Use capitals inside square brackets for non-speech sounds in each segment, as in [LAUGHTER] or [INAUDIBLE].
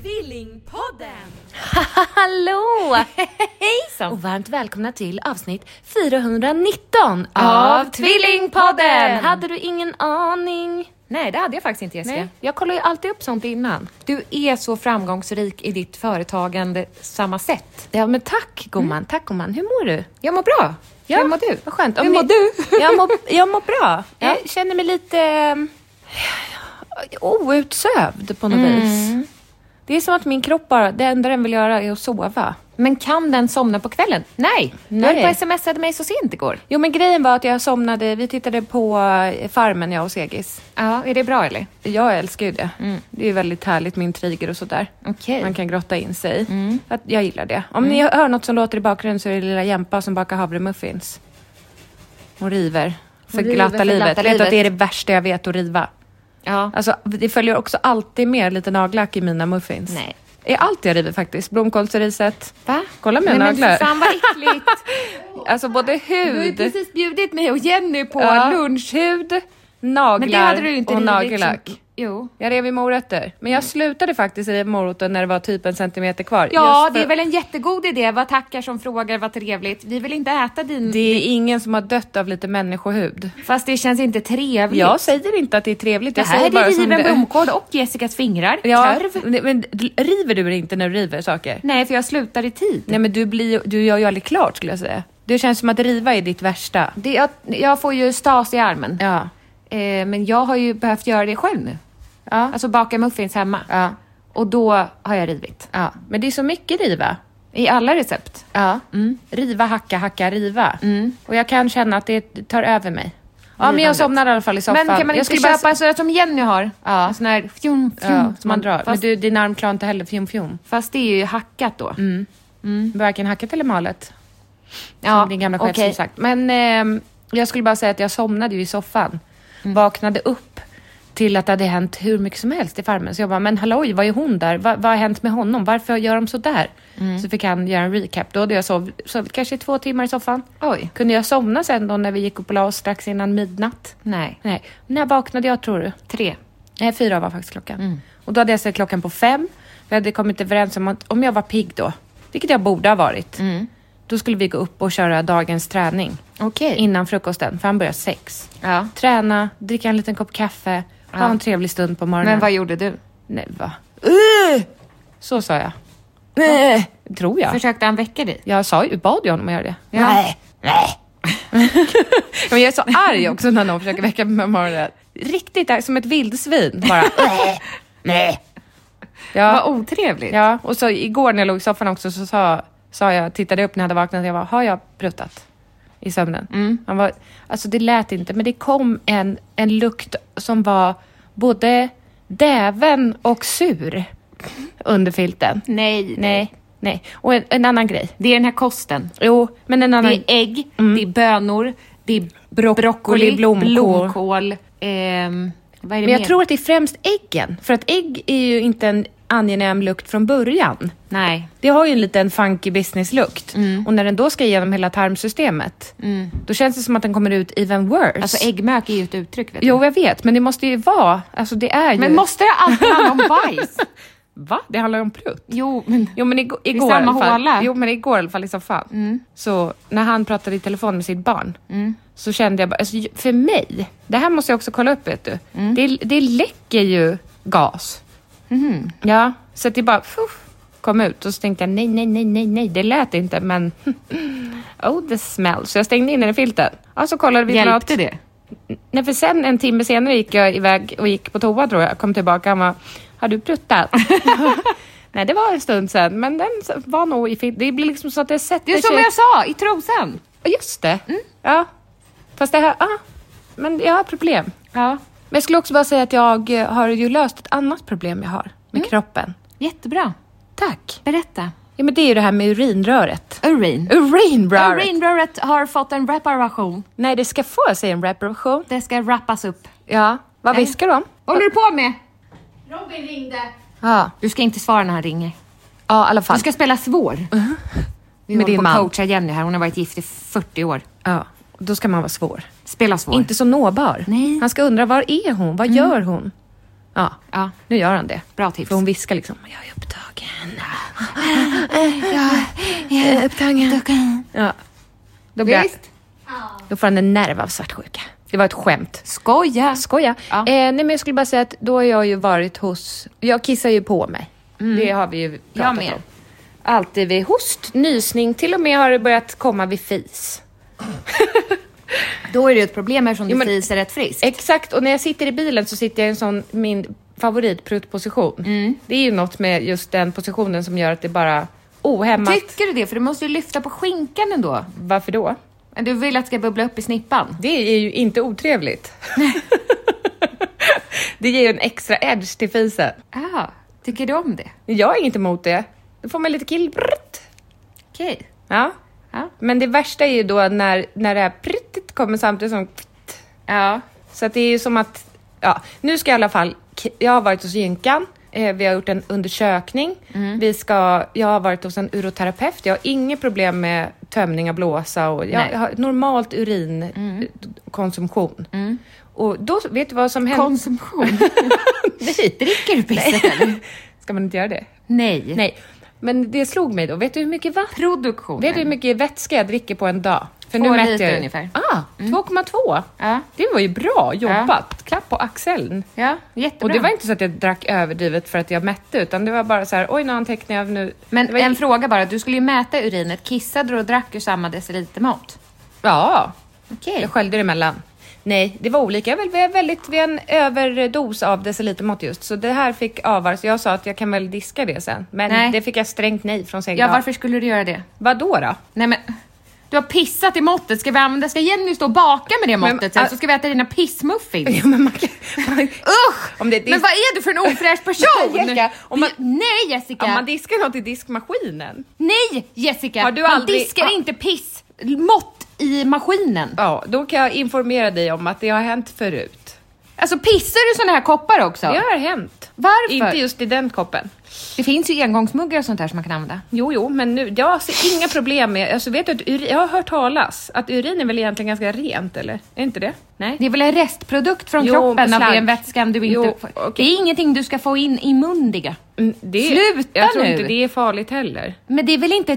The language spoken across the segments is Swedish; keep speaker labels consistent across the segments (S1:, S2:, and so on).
S1: Tvillingpodden!
S2: Hallå!
S1: [LAUGHS] Hejsan!
S2: Och varmt välkomna till avsnitt 419
S1: Av
S2: av
S1: Tvillingpodden.
S2: Tvillingpodden! Hade du ingen aning?
S1: Nej, det hade jag faktiskt inte Jessica.
S2: Nej, jag kollar ju alltid upp sånt innan.
S1: Du är så framgångsrik i ditt företagande samma sätt.
S2: Ja, men tack gumman, tack gumman. Hur mår du?
S1: Mm. Jag mår bra. Hur mår du?
S2: Vad skönt. Om
S1: Hur mår
S2: ni-
S1: du?
S2: [LAUGHS] Jag mår, jag mår bra.
S1: Ja.
S2: Jag känner mig lite eh, outsövd på något
S1: Mm.
S2: vis. Det är som att min kropp bara, det enda den vill göra är att sova.
S1: Men kan den somna på kvällen? Nej! Du
S2: Nej.
S1: höll på och smsade mig så sent igår.
S2: Jo men grejen var att jag somnade, vi tittade på eh, Farmen jag och Segis.
S1: Ja, är det bra eller?
S2: Jag älskar ju det. Det är ju väldigt härligt med intriger och sådär.
S1: Mm. Okej. Mm.
S2: Man kan grotta in sig i. Att jag gillar det. Om ni hör något som låter i bakgrunden så är det lilla Jämpa som bakar havremuffins. Hon river för
S1: Hon river
S2: glatta
S1: för
S2: livet.
S1: glatta
S2: vet du att det är
S1: livet.
S2: det värsta jag vet, att riva?
S1: Ja.
S2: Alltså, det följer också alltid med lite nagellack i mina muffins.
S1: Nej.
S2: I allt jag river faktiskt. Blomkålsriset.
S1: Va?
S2: Kolla mina
S1: Nej,
S2: naglar.
S1: Men för fan vad äckligt.
S2: [LAUGHS] Alltså både
S1: [LAUGHS] Du har ju
S2: hud,
S1: precis bjudit mig och Jenny på
S2: ja,
S1: lunch.
S2: lunchhud,
S1: Men det hade
S2: naglar
S1: du ju inte
S2: och
S1: rivit liksom.
S2: nagellack.
S1: som- Jo.
S2: Jag rev i morötter, men jag slutade faktiskt riva moroten när det var typ en centimeter kvar.
S1: Ja,
S2: Just för-
S1: det är väl en jättegod idé. Vad tackar som frågar, vad trevligt. Vi vill inte äta din...
S2: Det är ingen som har dött av lite människohud.
S1: Fast det känns inte trevligt.
S2: Jag säger inte att det är trevligt,
S1: det
S2: jag säger
S1: här är
S2: bara som
S1: riven
S2: det
S1: blomkål och Jessicas fingrar.
S2: ja,
S1: Törv.
S2: men- Men river du inte när du river saker?
S1: Nej, för jag slutar i tid.
S2: Nej, men du, blir, du gör ju aldrig klart skulle jag säga. Det känns som att riva är ditt värsta.
S1: Det, jag, jag får ju stas i armen.
S2: Ja.
S1: Eh, men jag har ju behövt göra det själv nu.
S2: Ja.
S1: Alltså baka muffins hemma.
S2: ja.
S1: Och då har jag rivit.
S2: ja. Men det är så mycket riva.
S1: I alla recept. Mm.
S2: Ja. Mm. Riva, hacka, hacka, riva. Och jag kan känna att det tar över mig. Ja, men jag
S1: Rivandet.
S2: somnar i alla fall i soffan.
S1: Men kan man
S2: jag
S1: inte
S2: skulle bara-
S1: köpa en sån där som Jenny har?
S2: Ja.
S1: En sån här fjum, fjum,
S2: Ja, som man drar. Men
S1: Fast,
S2: du, din arm klarar inte heller fjum fjum.
S1: fast det är ju hackat då.
S2: Mm. Varken hackat eller malet.
S1: Ja,
S2: som din gamla chef
S1: okej.
S2: som sagt. Men ehm, jag skulle bara säga att jag somnade ju i soffan.
S1: Mm.
S2: Vaknade upp till att det hade hänt hur mycket som helst i Farmen. Så jag bara, men halloj, vad är hon där? Va, vad har hänt med honom? Varför gör de så där?
S1: Mm.
S2: Så fick han göra en recap. Då hade jag sov, sov, kanske två timmar i soffan.
S1: Oj.
S2: Kunde jag somna sen då när vi gick upp och la oss strax innan midnatt?
S1: Nej.
S2: Nej. När vaknade jag tror du?
S1: Tre.
S2: Nej, fyra var faktiskt klockan.
S1: Mm.
S2: Och då hade jag sett klockan på fem. Vi hade kommit överens om att om jag var pigg då, vilket jag borde ha varit,
S1: Mm.
S2: då skulle vi gå upp och köra dagens träning
S1: Okej.
S2: innan frukosten, för han börjar sex.
S1: Ja.
S2: Träna, dricka en liten kopp kaffe, ha en trevlig stund på morgonen.
S1: Men vad Äh! gjorde du?
S2: Nej, va? Så sa jag.
S1: Äh!
S2: Tror jag.
S1: Försökte han väcka dig?
S2: Jag sa ju, bad ju honom att göra det.
S1: Ja. Nej.
S2: [LAUGHS] Men jag är så arg också när någon försöker väcka mig på morgonen. Riktigt arg, som ett vildsvin
S1: [LAUGHS]
S2: bara. ja.
S1: Vad otrevligt.
S2: Ja, och så igår när jag låg i soffan också så sa, sa jag, tittade jag upp när jag hade vaknat och jag bara, har jag pruttat? I sömnen.
S1: Mm.
S2: Han var, alltså det lät inte, men det kom en, en lukt som var både däven och sur under filten.
S1: Nej,
S2: Nej, nej. Och en, en annan grej.
S1: Det är den här kosten.
S2: Jo, men en annan...
S1: Det är ägg, det är bönor, det är Mm. broccoli,
S2: blomkål.
S1: blomkål, ehm, vad är det
S2: Men jag
S1: mer?
S2: tror att det är främst äggen, för att ägg är ju inte en angenäm lukt från början.
S1: Nej.
S2: Det har ju en liten funky business-lukt.
S1: Mm.
S2: Och när den då ska igenom hela tarmsystemet, då känns det som att den kommer ut even worse.
S1: Alltså äggmök är ju ett uttryck vet du.
S2: Jo, jag vet, men det måste ju vara... Alltså det är ju...
S1: [LAUGHS] Men måste det alltid handla om bajs?
S2: va? Det handlar ju om prutt.
S1: Jo, men...
S2: Jo men igår, igår
S1: samma
S2: i alla fall,
S1: håla. Mm.
S2: Jo men igår i alla fall i soffan. Så när han pratade i telefon med sitt barn så kände jag bara, alltså, för mig, det här måste jag också kolla upp vet du.
S1: Mm.
S2: Det, det läcker ju gas.
S1: Mm-hmm.
S2: Ja, så att det bara fuff, kom ut och så tänkte jag nej, nej, nej, nej, nej, det lät inte men [LAUGHS] oh the smell. Så jag stängde in den i filten. Ja, så kollade vi klart.
S1: Hjälpte det?
S2: Nej, för sen en timme senare gick jag iväg och gick på toa tror jag. Kom tillbaka han var, har du [LAUGHS] pruttat? Nej, det var en stund sen, men den var nog i fint. Det blir liksom så att det sätter
S1: Det är som
S2: sig.
S1: jag sa, i trosan!
S2: Ja, Just det. Ja. Fast det här, ah, men jag har problem.
S1: Ja.
S2: Men jag skulle också bara säga att jag eh, har ju löst ett annat problem jag har med kroppen.
S1: Jättebra.
S2: Tack.
S1: Berätta.
S2: Ja, men det är ju det här med urinröret.
S1: Urin.
S2: Urinröret!
S1: Urinröret har fått en reparation.
S2: Nej, det ska få sig en reparation.
S1: Det ska rappas upp.
S2: Ja. Vad
S1: Nej.
S2: viskar de?
S1: Vad håller du på med?
S2: Ja,
S1: Du ska inte svara när han ringer.
S2: ja i alla
S1: Du
S2: ska...
S1: ska spela svår. Vi
S2: Med
S1: håller
S2: din
S1: på
S2: man.
S1: att coacha Jenny här, hon har varit gift i 40 år.
S2: ja. Då ska man vara svår.
S1: Spela svår.
S2: Inte så nåbar.
S1: Nej. Mm.
S2: Han ska undra, var är hon? Vad gör hon? Ja,
S1: Ja.
S2: nu gör han det.
S1: Bra tips.
S2: För hon viskar liksom, jag är upptagen.
S1: Ja, upptagen.
S2: Ja. Då, blir,
S1: Visst?
S2: då får han en nerv av svartsjuka. Det var ett skämt.
S1: Skoja!
S2: Skoja.
S1: Ja.
S2: Eh, nej, men jag skulle bara säga att då har jag ju varit hos... Jag kissar ju på mig. Det har vi ju
S1: Mm. Jag
S2: pratat
S1: med.
S2: om. Alltid vid host, nysning, till och med har det börjat komma vid fis.
S1: Då är det ju ett problem eftersom
S2: Jo,
S1: du
S2: men-
S1: fiser rätt friskt.
S2: Exakt, och när jag sitter i bilen så sitter jag i en sån, min favoritpruttposition. Det är ju något med just den positionen som gör att det bara oh, ohämmat.
S1: Tycker du det? För du måste ju lyfta på skinkan ändå.
S2: Varför då?
S1: Men Du vill att det ska bubbla upp i snippan.
S2: Det är ju inte otrevligt. [LAUGHS] det ger ju en extra edge till fisen.
S1: Ah, tycker du om det?
S2: Jag är inte emot det. Då får man lite killprutt.
S1: Okej.
S2: Ja.
S1: Ja.
S2: Men det värsta är ju då när, när det här pruttet kommer samtidigt som
S1: Ja.
S2: Så att det är ju som att, ja, nu ska jag i alla fall, jag har varit hos gynkan, eh, vi har gjort en undersökning,
S1: Mm.
S2: vi ska, jag har varit hos en uroterapeut, jag har inget problem med tömning av blåsa och jag,
S1: Nej. Mm.
S2: har normalt urinkonsumtion. Och då, vet du vad som hände?
S1: [LAUGHS] Konsumtion. Dricker du pisset eller?
S2: ska man inte göra det?
S1: Nej.
S2: Nej. Men det slog mig då, vet du hur mycket vatten
S1: Produktionen.
S2: Vet du hur mycket vätska jag dricker på en dag? För
S1: Två
S2: mätte
S1: liter
S2: jag ju.
S1: ungefär. Mm.
S2: Ah, 2,2!
S1: Ja.
S2: Det var ju bra jobbat! Klapp på axeln.
S1: Ja, jättebra.
S2: Och det var inte så att jag drack överdrivet för att jag mätte, utan det var bara så här, oj nu antecknar jag nu.
S1: Men
S2: det var,
S1: en fråga bara, du skulle ju mäta urinet. Kissade du och drack ur samma decilitermått?
S2: Ja,
S1: Okej.
S2: jag sköljde det emellan. Nej, det var olika. Jag var väldigt vid en överdos av decilitermått just, så det här fick avar. Så jag sa att jag kan väl diska det sen, men
S1: Nej.
S2: det fick jag strängt nej från sin
S1: Ja, varför skulle du göra det?
S2: Vadå då? [LAUGHS]
S1: Nej men, du har pissat i måttet. Ska vi använda, ska Jenny stå och baka med det
S2: Men-
S1: måttet sen?
S2: ah-
S1: Så ska vi äta dina pissmuffins.
S2: Ja, men man kan, man,
S1: Usch!
S2: Om det, det
S1: Men vad är du för en ofräsch [LAUGHS] person?
S2: Jessica, om man-
S1: Vi- Nej Jessica!
S2: Om man diskar något i diskmaskinen?
S1: Nej Jessica!
S2: Har du
S1: man
S2: aldrig-
S1: diskar
S2: har-
S1: inte pissmått i maskinen.
S2: Ja, då kan jag informera dig om att det har hänt förut.
S1: Alltså pissar du såna här koppar också?
S2: Det har hänt.
S1: Varför?
S2: Inte just i den koppen.
S1: Det finns ju engångsmuggar och sånt där som man kan använda.
S2: Jo, jo, men nu, jag ser inga problem med... Alltså, vet du, att uri, jag har hört talas att urin är väl egentligen ganska rent, eller? Är inte det? Nej.
S1: Det är väl en restprodukt från
S2: Jo,
S1: kroppen av
S2: slank.
S1: den vätskan du inte
S2: Jo,
S1: får.
S2: okej.
S1: Det är ingenting du ska få in i mundiga.
S2: Mm, det
S1: Sluta
S2: Jag tror
S1: nu!
S2: inte det är farligt heller.
S1: Men det är väl inte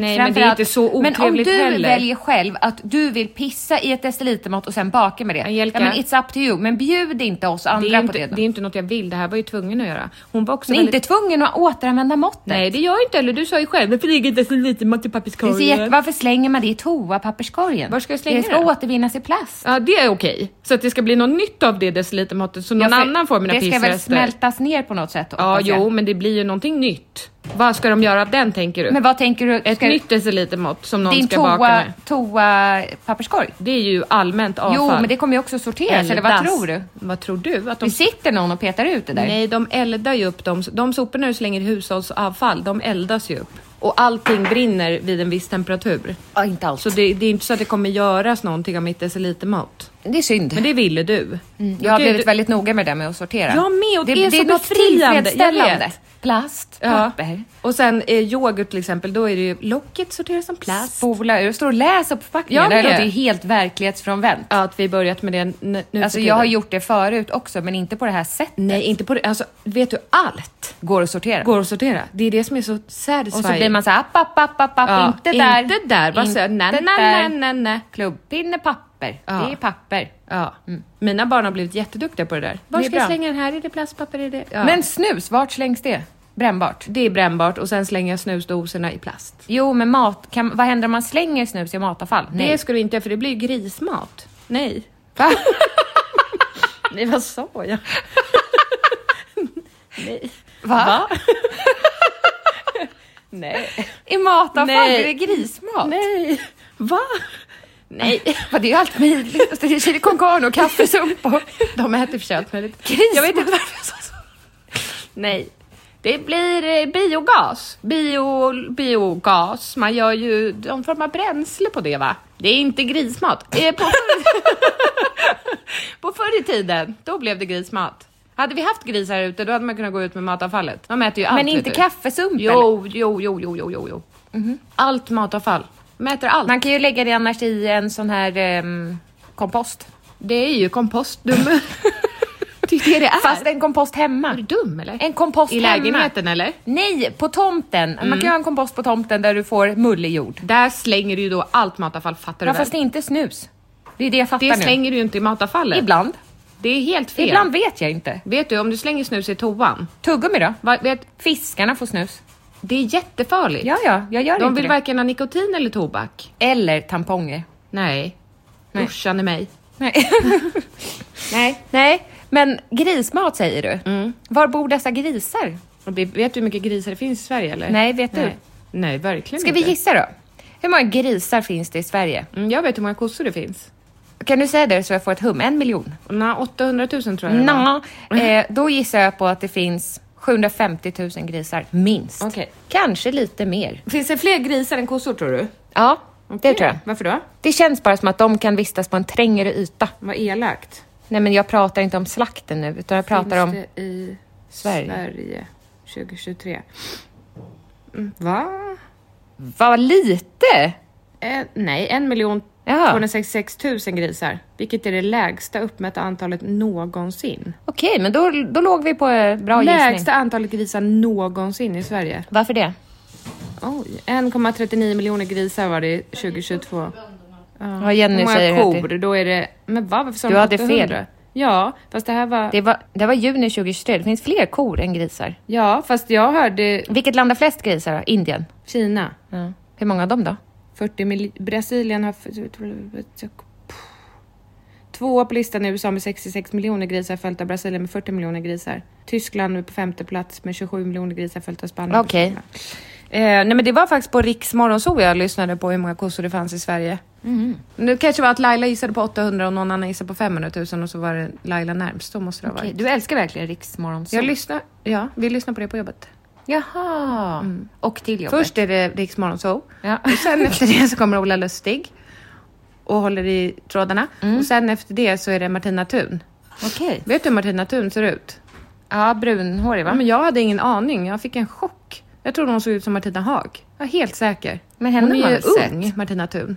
S2: Nej, men det är
S1: framförallt.
S2: inte så otrevligt
S1: Men om du
S2: heller.
S1: väljer själv att du vill pissa i ett decilitermått och sen baka med det.
S2: Angelica.
S1: Ja, men it's up to you. Men bjud inte oss
S2: Det
S1: andra
S2: är,
S1: på
S2: inte,
S1: det. då.
S2: det är inte något jag vill, det här var jag ju tvungen att göra. Hon var också
S1: Men
S2: väldigt...
S1: inte tvungen att återanvända måttet.
S2: Nej, det gör jag inte heller. Du sa ju själv, det flyger inte så lite
S1: Det är så jätte...
S2: mattepapperskorgen.
S1: Varför slänger man det i toapapperskorgen?
S2: Var ska jag slänga
S1: det? ska
S2: det?
S1: återvinnas i plast.
S2: Ja, det är okej. Så att det ska bli något nytt av det decilitermåttet, så någon
S1: Ja, för
S2: annan får mina
S1: Det ska väl
S2: pissrester.
S1: smältas ner på något sätt?
S2: Ja,
S1: hoppas jag.
S2: jo, men det blir ju någonting nytt. Vad ska de göra av den, tänker du?
S1: Men vad tänker du?
S2: Ett
S1: ska-
S2: nytt decilitermått som någon
S1: Din
S2: ska baka
S1: toa,
S2: med.
S1: toapapperskorg?
S2: Det är ju allmänt avfall.
S1: Jo, men det kommer ju också sorteras, eller vad
S2: Eldas.
S1: tror du?
S2: Vad tror du? Att de...
S1: Det sitter någon och petar ut det där.
S2: Nej, de eldar ju upp de, de soporna du slänger i hushållsavfall, de eldas ju upp. Och allting brinner vid en viss temperatur.
S1: Ja, inte alls.
S2: Så det, det är inte så att det kommer göras någonting av mitt decilitermått.
S1: Det är synd.
S2: Men det ville du. Då
S1: Mm, jag har
S2: kan ju
S1: blivit
S2: du...
S1: väldigt noga med det där med att sortera.
S2: Jag med och det, är så
S1: något
S2: befriande. Jag
S1: tillfredsställande.
S2: vet.
S1: Plast,
S2: Ja.
S1: papper.
S2: Och sen eh, yoghurt till exempel, då är det ju locket sorteras som plast.
S1: Spola ur. Jag står och läser på förpackningen.
S2: Jag
S1: Det här
S2: med.
S1: låter ju helt verklighetsfrånvänt.
S2: Ja, att vi börjat med det n- nu för
S1: Alltså jag
S2: tiden.
S1: har gjort det förut också, men inte på det här sättet.
S2: Nej, inte på det. Alltså, vet du, allt
S1: Går att sortera.
S2: går att sortera. Det är det som är så satisfying.
S1: och så blir man så här, app, app, app, app, app,
S2: Ja,
S1: inte där.
S2: Inte där. Bara
S1: Inte
S2: säga nej,
S1: där.
S2: nej, nej, nej, nej.
S1: Klubbpinne, papper.
S2: Ja.
S1: Det är papper. Mm.
S2: Ja. Mm. Mina barn har blivit jätteduktiga på det där. Var
S1: Det är
S2: ska jag
S1: bra.
S2: slänga den här? Är det plastpapper? Är det... Ja.
S1: Men snus, vart slängs det? Brännbart?
S2: det är brännbart och sen slänger jag snusdoserna i plast.
S1: Jo, men mat, kan, vad händer om man slänger snus i matavfall? Nej.
S2: Det ska du inte göra, för det blir ju grismat. Nej.
S1: Va?
S2: Nej, vad sa jag? Nej.
S1: Va?
S2: Nej.
S1: [LAUGHS] I matavfall?
S2: Nej.
S1: Är det grismat?
S2: Nej. Va? Nej. [LAUGHS]
S1: Va, det är ju allt möjligt. Det är chili con carne och kaffesumpor.
S2: [LAUGHS] De äter kött med lite...
S1: Grismat.
S2: Jag vet inte varför jag sa så. Nej. Det blir eh, biogas. Bio, biogas. Man gör ju någon form av bränsle på det va? Det är inte grismat. Eh, På förr, [LAUGHS] på förr i tiden, då blev det grismat. Hade vi haft gris här ute, då hade man kunnat gå ut med matavfallet. De äter ju allt.
S1: Men
S2: vet
S1: inte
S2: du.
S1: kaffesump? eller?
S2: Jo, jo, jo, jo, jo, jo. jo. Allt matavfall. De äter allt.
S1: Man kan ju lägga det annars i en sån här ehm, kompost.
S2: Det är ju kompost.
S1: [LAUGHS]
S2: Dum. det är det det är.
S1: Fast en kompost
S2: Är du
S1: hemma.
S2: dum eller?
S1: En kompost
S2: I
S1: hemma.
S2: lägenheten Mm. eller?
S1: Nej, på tomten. Man kan ju ha en kompost på tomten där du får mullig jord.
S2: Där slänger du ju då allt matavfall, fattar
S1: Ja,
S2: du väl?
S1: fast det är inte snus. Det är det jag fattar
S2: Det
S1: nu.
S2: slänger du ju inte i matavfallet.
S1: Ibland.
S2: Det är helt fel.
S1: Ibland vet jag inte.
S2: Vet du, om du slänger snus i toan,
S1: Tuggummi då?
S2: va, vet,
S1: Fiskarna får snus.
S2: det är jättefarligt.
S1: Ja, ja, jag gör
S2: De
S1: inte
S2: vill
S1: det.
S2: varken ha nikotin eller tobak.
S1: Eller tamponger.
S2: Nej.
S1: Nej.
S2: Uscha ni mig. [LAUGHS]
S1: Nej. Nej. Nej. Men grismat säger du. Var bor dessa grisar?
S2: Och vi- Mm. Vet du hur mycket grisar det finns i Sverige eller?
S1: Nej, vet du?
S2: Nej, Nej verkligen
S1: Ska vi
S2: inte.
S1: gissa då? Hur många grisar finns det i Sverige?
S2: Mm, jag vet hur många kossor det finns.
S1: Kan du säga det så jag får ett hum? En miljon?
S2: Nå, 800 000 tror jag det var.
S1: Nå, eh, då gissar jag på att det finns 750 000 grisar, minst.
S2: Okej.
S1: Kanske lite mer.
S2: Finns det fler grisar än kossor tror du?
S1: Ja, det tror jag.
S2: Varför då?
S1: Det känns bara som att de kan vistas på en trängre yta.
S2: Vad elakt.
S1: Nej, men jag pratar inte om slakten nu, utan jag pratar om...
S2: Finns det i Sverige,
S1: Sverige.
S2: 2023? Mm, va?
S1: Vad lite!
S2: Eh, nej, 1 miljon
S1: Ja.
S2: 266 000 grisar, vilket är det lägsta uppmätta antalet någonsin.
S1: Okej, men då, då låg vi på eh, bra
S2: lägsta
S1: gissning.
S2: antalet grisar någonsin i Sverige.
S1: Varför det?
S2: Oj, 1,39 miljoner grisar var det 2022.
S1: Ja, Jenny
S2: Hur
S1: säger
S2: många
S1: att det,
S2: kor? Då är det... Men va, varför sa
S1: Du
S2: de
S1: hade
S2: 800?
S1: fel.
S2: Ja, fast det här var...
S1: det, var, det var juni 2023. Det finns fler kor än grisar.
S2: Ja, fast jag hörde
S1: Vilket land har flest grisar då? Indien?
S2: Kina.
S1: Hur många av dem då?
S2: 40 mil- Brasilien har... Tvåa på listan är USA med 66 miljoner grisar följt av Brasilien med 40 miljoner grisar. Tyskland nu på femte plats med 27 miljoner grisar följt av Spanien.
S1: Okej.
S2: Eh, nej men det var faktiskt på Riks morgonzoo jag lyssnade på hur många kossor det fanns i Sverige.
S1: Mhm.
S2: Nu kanske det var att Laila gissade på 800 och någon annan gissade på 500 000 och så var det Laila närmst. Då måste det ha varit.
S1: Du älskar verkligen Riksmorgonzoo.
S2: Jag lyssnar, ja, vi lyssnar på det på jobbet.
S1: Jaha! Och till jobbet.
S2: Mm. Först är det Riks morgonzoo. [LAUGHS]
S1: Ja.
S2: Och
S1: [LAUGHS]
S2: sen efter det så kommer Ola Lustig och håller i trådarna.
S1: Mm.
S2: Och sen efter det så är det Martina Thun.
S1: Okej.
S2: Vet du hur Martina Thun ser ut?
S1: Ja, brunhårig va?
S2: Ja, men jag hade ingen aning. Jag fick en chock. Jag trodde hon såg ut som Martina Haag. Jag är helt säker.
S1: Men henne
S2: hon
S1: har
S2: är ju
S1: man väl
S2: ung, Martina Thun.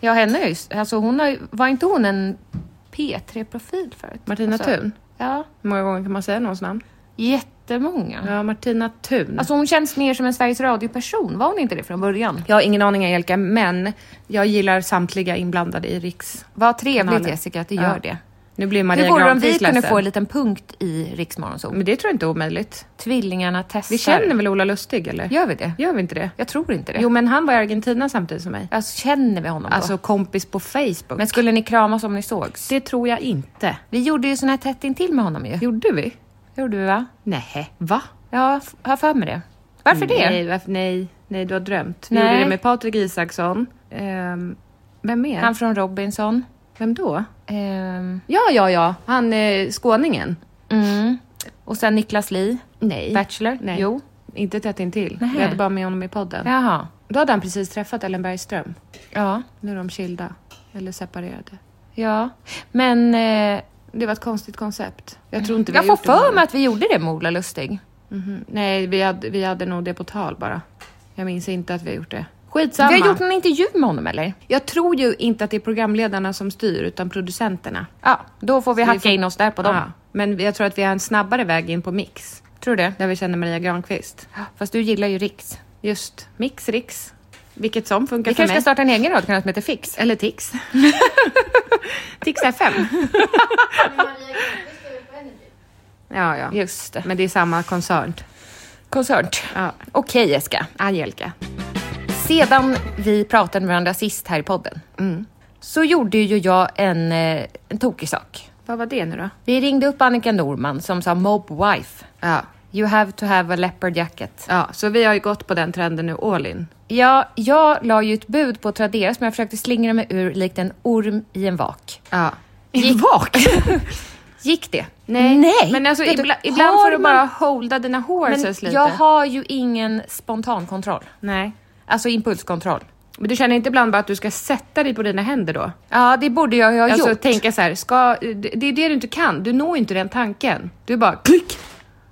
S1: Ja, henne är ju... Alltså hon har ju... Var inte hon en P3-profil förut?
S2: Martina
S1: alltså,
S2: Thun.
S1: Ja,
S2: Hur många gånger kan man säga någons namn?
S1: jättemånga.
S2: Ja, Martina Thun.
S1: Alltså hon känns mer som en Sveriges Radio-person. Var hon inte det från början?
S2: jag har ingen aning Angelica, men jag gillar samtliga inblandade i Riks.
S1: Vad trevligt
S2: Kanalen.
S1: Jessica att du
S2: Ja.
S1: gör det.
S2: Nu blir
S1: Hur
S2: Maria
S1: vore det om vi
S2: Granqvist
S1: kunde
S2: ledsen.
S1: få en liten punkt i Riksmorgonzoo?
S2: Men det tror jag inte är omöjligt.
S1: Tvillingarna testar.
S2: Vi känner väl Ola Lustig eller?
S1: Gör vi det?
S2: Gör vi inte det?
S1: Jag tror inte det.
S2: Jo, men han var i Argentina samtidigt som mig.
S1: Alltså känner vi honom
S2: Alltså
S1: då?
S2: kompis på Facebook.
S1: Men skulle ni kramas om ni sågs?
S2: det tror jag inte.
S1: Vi gjorde ju sån här tätt intill med honom ju.
S2: Gjorde vi?
S1: Gjorde vi va?
S2: Nej. Va?
S1: Ja, f- har för mig det. Varför det?
S2: Nej, varför, nej, nej, du har drömt. Vi
S1: Nej.
S2: gjorde det med Patrik Isaksson. Ehm, vem mer?
S1: Han från Robinson.
S2: Vem då?
S1: Ehm,
S2: Ja, ja, ja. Han eh, skåningen.
S1: mm. Och sen Niklas Li,
S2: Nej.
S1: Bachelor.
S2: Nej.
S1: Jo.
S2: Inte tätt intill.
S1: Nej.
S2: Jag hade bara med honom i podden.
S1: Jaha.
S2: Då hade han precis träffat Ellen Bergström.
S1: Ja.
S2: Nu är de skilda. Eller separerade.
S1: Ja. Men eh,
S2: Det var ett konstigt koncept. Jag tror inte vi
S1: jag
S2: har
S1: får
S2: gjort det med
S1: för
S2: honom.
S1: mig att vi gjorde det med Ola Lustig.
S2: Mhm. Nej, vi hade, vi hade nog det på tal bara. Jag minns inte att vi har gjort det.
S1: Vi
S2: Skitsamma.
S1: har gjort en intervju med honom eller?
S2: Jag tror ju inte att det är programledarna som styr, utan producenterna.
S1: Ja, då får vi
S2: Så
S1: hacka in oss där på dem.
S2: Ja, Men jag tror att vi har en snabbare väg in på Mix.
S1: Tror du det?
S2: Där vi känner Maria Granqvist.
S1: Fast du gillar ju Riks.
S2: Just Mix, Riks. Vilket som funkar
S1: Vi
S2: för
S1: kanske
S2: mig.
S1: ska starta en egen radkanal som heter Fix.
S2: Eller
S1: [LAUGHS]
S2: Tix. Tix FM. ja, ja.
S1: Just det.
S2: Men det är samma koncern.
S1: Koncert.
S2: Ja.
S1: Okej Jessica.
S2: Angelica.
S1: Sedan vi pratade med varandra sist här i podden
S2: Mm.
S1: så gjorde ju jag en, eh, en tokig sak.
S2: Vad var det nu då?
S1: Vi ringde upp Annika Norman som sa mob wife.
S2: Ja.
S1: You have to have a leopard jacket.
S2: ja, så vi har ju gått på den trenden nu, all in.
S1: Ja, jag la ju ett bud på Tradera som jag försökte slingra mig ur likt en orm i en vak.
S2: Ja.
S1: Gick, [LAUGHS] vak? gick det?
S2: Men alltså,
S1: Vet du,
S2: ibla, ibland
S1: har
S2: får du
S1: man-
S2: bara holda dina
S1: Men
S2: horses lite.
S1: jag har ju ingen spontankontroll.
S2: Nej.
S1: Alltså impulskontroll.
S2: Men du känner inte ibland bara att du ska sätta dig på dina händer då?
S1: Ja, det borde jag ju ha
S2: Alltså
S1: gjort.
S2: tänka så här, ska, det, det är det du inte kan. Du når inte den tanken. Du bara klick.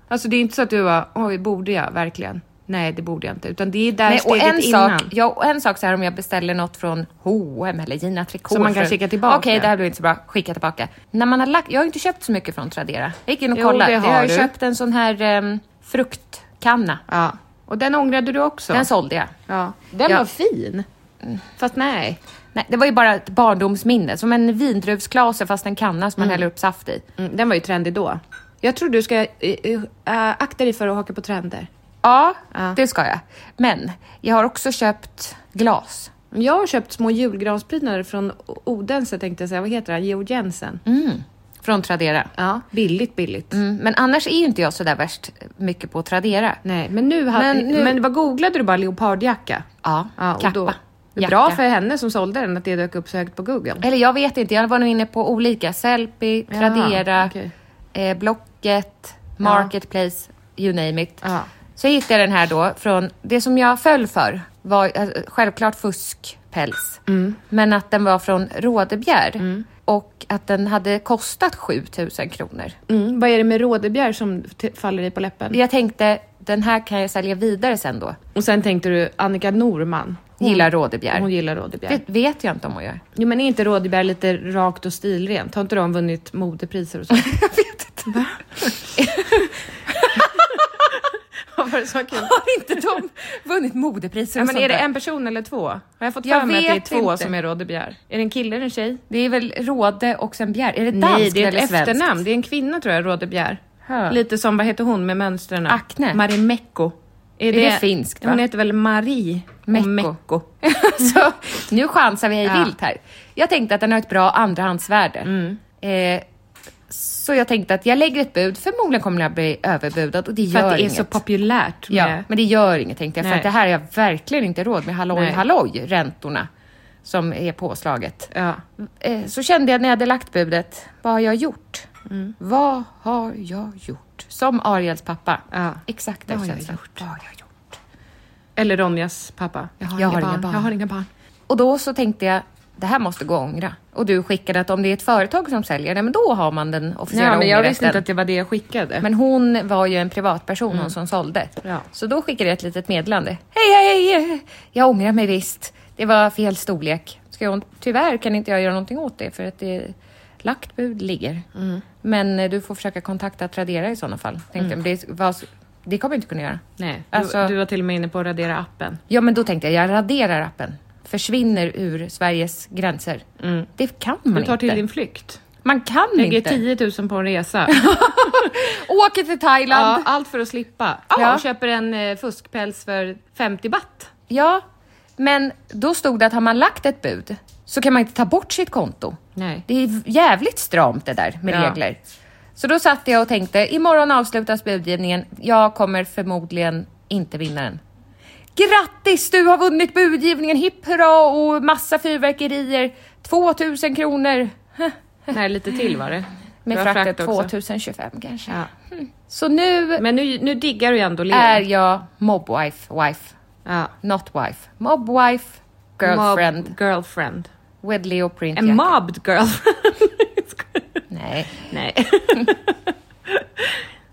S2: Alltså det är inte så att du bara, oj, borde jag verkligen? Nej, det borde jag inte. Utan det är där
S1: Nej, och,
S2: steget
S1: en
S2: innan.
S1: sak, ja, och en sak så här om jag beställer något från H&M eller Gina Tricot.
S2: Som man kan
S1: för-
S2: skicka tillbaka.
S1: Okej, det här blev inte så bra. Skicka tillbaka. När man har lagt, jag har ju inte köpt så mycket från Tradera. Jag gick in och
S2: Jo,
S1: kollade.
S2: det har
S1: jag har ju
S2: du.
S1: köpt en sån här ehm, fruktkanna.
S2: Ja. Och den ångrade du också.
S1: Den sålde jag.
S2: ja.
S1: Den
S2: ja.
S1: var
S2: fin. Fast nej.
S1: Nej, det var ju bara ett barndomsminne. Som en vindruvsklase fast en kanna som man häller upp saft i.
S2: Mm, den var ju trendig då. Jag tror du ska eh, eh, akta dig för att haka på trender.
S1: Ja,
S2: Ja.
S1: det ska jag. Men jag har också köpt glas.
S2: Jag har köpt små julgransprylar från O- Odense tänkte jag säga. Vad heter han? Georg Jensen.
S1: Mm. Från Tradera.
S2: Ja. Billigt, billigt.
S1: Mm, men annars är ju inte jag så där värst mycket på att Tradera.
S2: Nej, men nu, hade,
S1: Men
S2: men,
S1: nu-
S2: men vad googlade du bara? Leopardjacka?
S1: Ja,
S2: och
S1: kappa.
S2: då- det är
S1: jacka.
S2: bra för henne som sålde den att det dök upp så högt på Google.
S1: Eller jag vet inte, jag var nog inne på olika. Sellpy,
S2: Ja,
S1: Tradera,
S2: okej.
S1: eh, Blocket, Marketplace, you name it.
S2: Ja.
S1: Så hittade jag den här då från, det som jag föll för var eh, självklart fuskpäls. Men att den var från Rådebjer och att den hade kostat 7000 kronor.
S2: Mm, vad är det med rådebjär som t- faller dig på läppen?
S1: Jag tänkte, den här kan jag sälja vidare sen då.
S2: Och sen tänkte du Annika Norman.
S1: Mm. Gillar rådebjär.
S2: Hon gillar rådebjär.
S1: Det vet jag inte om hon gör.
S2: Jo men är inte rådebjär lite rakt och stilrent? Har inte de vunnit modepriser och så?
S1: [LAUGHS] jag vet inte.
S2: [LAUGHS]
S1: [LAUGHS]
S2: Vad var det som kul?
S1: [LAUGHS] Har inte de vunnit modepriser
S2: Ja,
S1: och
S2: men
S1: sånt
S2: är det
S1: där?
S2: en person eller två? Har jag fått
S1: Jag
S2: för mig att det är
S1: vet
S2: två
S1: inte.
S2: som är rådebjär? Är det en kille eller en tjej?
S1: Det är väl Råde och sen Bjär. Är det danskt
S2: Nej, det är ett
S1: eller svenskt?
S2: efternamn.
S1: [LAUGHS]
S2: Det är en kvinna tror jag, Rådebjer.
S1: Hö.
S2: Lite som, vad heter hon med mönstren?
S1: Acne.
S2: Marimekko.
S1: Är det finskt, va?
S2: Hon heter väl Marie
S1: Mecko.
S2: och Mecko.
S1: Så, Alltså, nu chansar vi hej
S2: Ja. Mm.
S1: vilt här. Jag tänkte att den har ett bra andrahandsvärde. Eh, så jag tänkte att jag lägger ett bud. Förmodligen kommer jag bli överbudad och det
S2: [LAUGHS] För
S1: gör
S2: att det är
S1: inget.
S2: så populärt
S1: ja,
S2: med...
S1: Men det gör inget tänkte jag, för
S2: Nej.
S1: att det här har jag verkligen inte råd med. Halloj
S2: Nej.
S1: halloj, räntorna som är påslaget.
S2: Ja.
S1: Eh, så kände jag när jag hade lagt budet, vad har jag gjort?
S2: Mm.
S1: Vad har jag gjort? Som Ariels pappa.
S2: Ja.
S1: Exakt den
S2: Vad har jag
S1: känslan.
S2: gjort?
S1: Vad har jag gjort?
S2: Eller Ronjas pappa. Jag
S1: Jag har inga barn.
S2: Jag har inga barn.
S1: Och då så tänkte jag, det här måste gå att ångra. Och du skickade att om det är ett företag som säljer det, men då har man den officiella
S2: Ja, men jag visste
S1: ångerrätten.
S2: inte att det var det jag skickade.
S1: Men hon var ju en privatperson, hon som sålde.
S2: Ja.
S1: Så då skickade jag ett litet meddelande. Hej, hej, hej! Jag ångrar mig visst. Det var fel storlek. Ska jag, tyvärr kan inte jag göra någonting åt det, för att det lagt bud ligger.
S2: Mm.
S1: Men eh, du får försöka kontakta Tradera i sådana fall. Tänkte jag, men det, vad, det kommer jag inte kunna göra.
S2: Nej,
S1: Alltså-
S2: du, du var till och med inne på att radera appen.
S1: Ja, men då tänkte jag, jag raderar appen. Försvinner ur Sveriges gränser. Det kan man
S2: Mm. Du tar till
S1: inte.
S2: din flykt.
S1: Man kan
S2: Lägger
S1: inte.
S2: 10 000 på en
S1: [LAUGHS]
S2: resa.
S1: Åker till
S2: ja,
S1: Thailand. Ja.
S2: allt för att slippa.
S1: Ja.
S2: Ja. Och köper en eh, fuskpäls för 50 baht.
S1: men då stod det att har man lagt ett bud så kan man inte ta bort sitt konto.
S2: Nej.
S1: Det är jävligt stramt det där med
S2: Ja.
S1: regler. Så då satt jag och tänkte, imorgon avslutas budgivningen. Jag kommer förmodligen inte vinna den. Grattis, du har vunnit budgivningen! Hipp hurra och massa fyrverkerier. 2000 kronor.
S2: Nej, lite till var det.
S1: [LAUGHS] Med
S2: Det var frakt
S1: frakten
S2: också.
S1: 2025 kanske.
S2: Ja.
S1: Så nu
S2: Men nu, nu diggar du ju ändå Leo.
S1: är jag mobwife, wife,
S2: ja.
S1: not wife. Mobwife, girlfriend
S2: Mob girlfriend.
S1: with Leo Print.
S2: En [LAUGHS]
S1: jacket. [LAUGHS]
S2: mobbed girlfriend.
S1: Nej.
S2: Nej.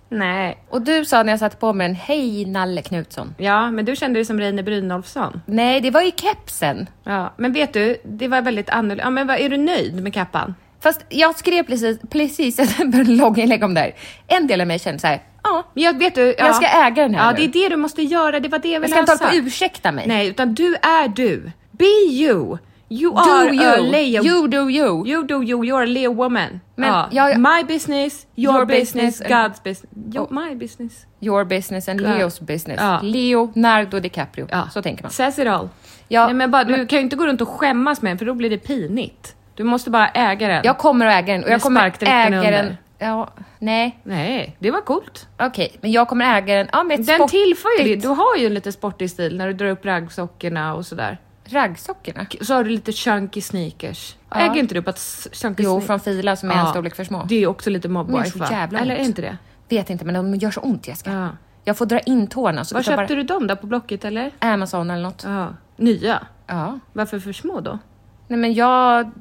S2: Nej.
S1: Och du sa när jag satte på mig den, hej Nalle Knutsson.
S2: Ja, men du kände dig som Reine Brynolfsson.
S1: Nej, det var ju kepsen.
S2: Ja, men vet du, det var väldigt annorlunda. Ja, men vad, är du nöjd med kappan?
S1: Fast jag skrev precis, precis [LAUGHS] ett blogginlägg om det här. En del av mig kände så här, ja,
S2: Men jag vet du, ja.
S1: Jag ska äga den här
S2: Ja,
S1: nu.
S2: det är det du måste göra. Det var det jag
S1: jag
S2: ville
S1: ska inte hålla
S2: ha
S1: på och
S2: sagt.
S1: ursäkta mig.
S2: alltså, Nej, utan du är du. Be you. You
S1: Do
S2: are a
S1: you,
S2: Leo.
S1: you do you.
S2: You do you, you're a Leo woman.
S1: Men
S2: ja.
S1: jag-
S2: My business, your,
S1: Your
S2: business,
S1: business and- Oh.
S2: God's business. Jo, my business.
S1: Your business and
S2: Ja.
S1: Leos business.
S2: Ja.
S1: Leonardo DiCaprio.
S2: Ja.
S1: Så tänker man.
S2: Says it all.
S1: Ja,
S2: Nej, men bara, du kan ju inte gå runt och skämmas med den för då blir det pinigt. Du måste bara äga den.
S1: Jag kommer att äga den och
S2: Med
S1: jag kommer
S2: sparkdräkten
S1: äga den.
S2: under.
S1: Ja, nej,
S2: Nej, det var coolt.
S1: okej, men jag kommer äga den. Ja, med ett
S2: Den
S1: sport-
S2: tillför ju det.
S1: ditt-
S2: Du har ju en lite sportig stil när du drar upp raggsockorna och sådär.
S1: Raggsockorna?
S2: Så har du lite chunky sneakers.
S1: Ja.
S2: Äger inte du på att s- chunky
S1: Jo,
S2: sneakers?
S1: från Fila som är en storlek för små.
S2: Det är ju också lite
S1: De gör
S2: mobwife
S1: så jävla
S2: Eller
S1: ont.
S2: är inte det?
S1: Vet inte, men de gör så ont Jessica.
S2: Ja.
S1: Jag får dra in tårna. Så
S2: Var
S1: så
S2: köpte du dem då? På Blocket eller?
S1: Amazon eller något.
S2: Ja. Nya?
S1: Ja.
S2: Varför för små då?
S1: Nej, men jag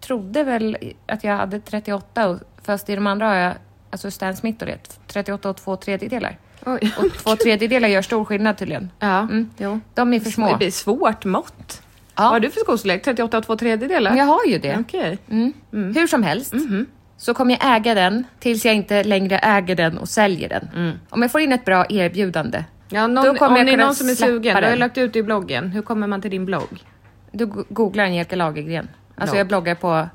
S1: trodde väl att jag hade 38, och, fast i de andra har jag, alltså Stan Smith och det, 38 och två tredjedelar.
S2: Oj. [LAUGHS]
S1: Och två tredjedelar gör stor skillnad tydligen.
S2: Ja,
S1: Mm.
S2: jo.
S1: De är för
S2: Det
S1: små.
S2: blir svårt mått.
S1: Ja.
S2: Vad har du för skostorlek? 38 och 2 tredjedelar?
S1: Men Jag har ju det.
S2: Okej.
S1: Mm. Hur som helst
S2: Mm-hmm.
S1: så kommer jag äga den tills jag inte längre äger den och säljer den.
S2: Mm.
S1: Om jag får in ett bra erbjudande,
S2: Ja, någon,
S1: Då kommer
S2: om
S1: jag
S2: det är
S1: kunna
S2: någon som är
S1: släppa
S2: sugen, du har ju
S1: den.
S2: lagt ut det i bloggen. Hur kommer man till din blogg?
S1: då go- googlar jag Angelica Lagergren. Alltså
S2: Ja.
S1: jag bloggar på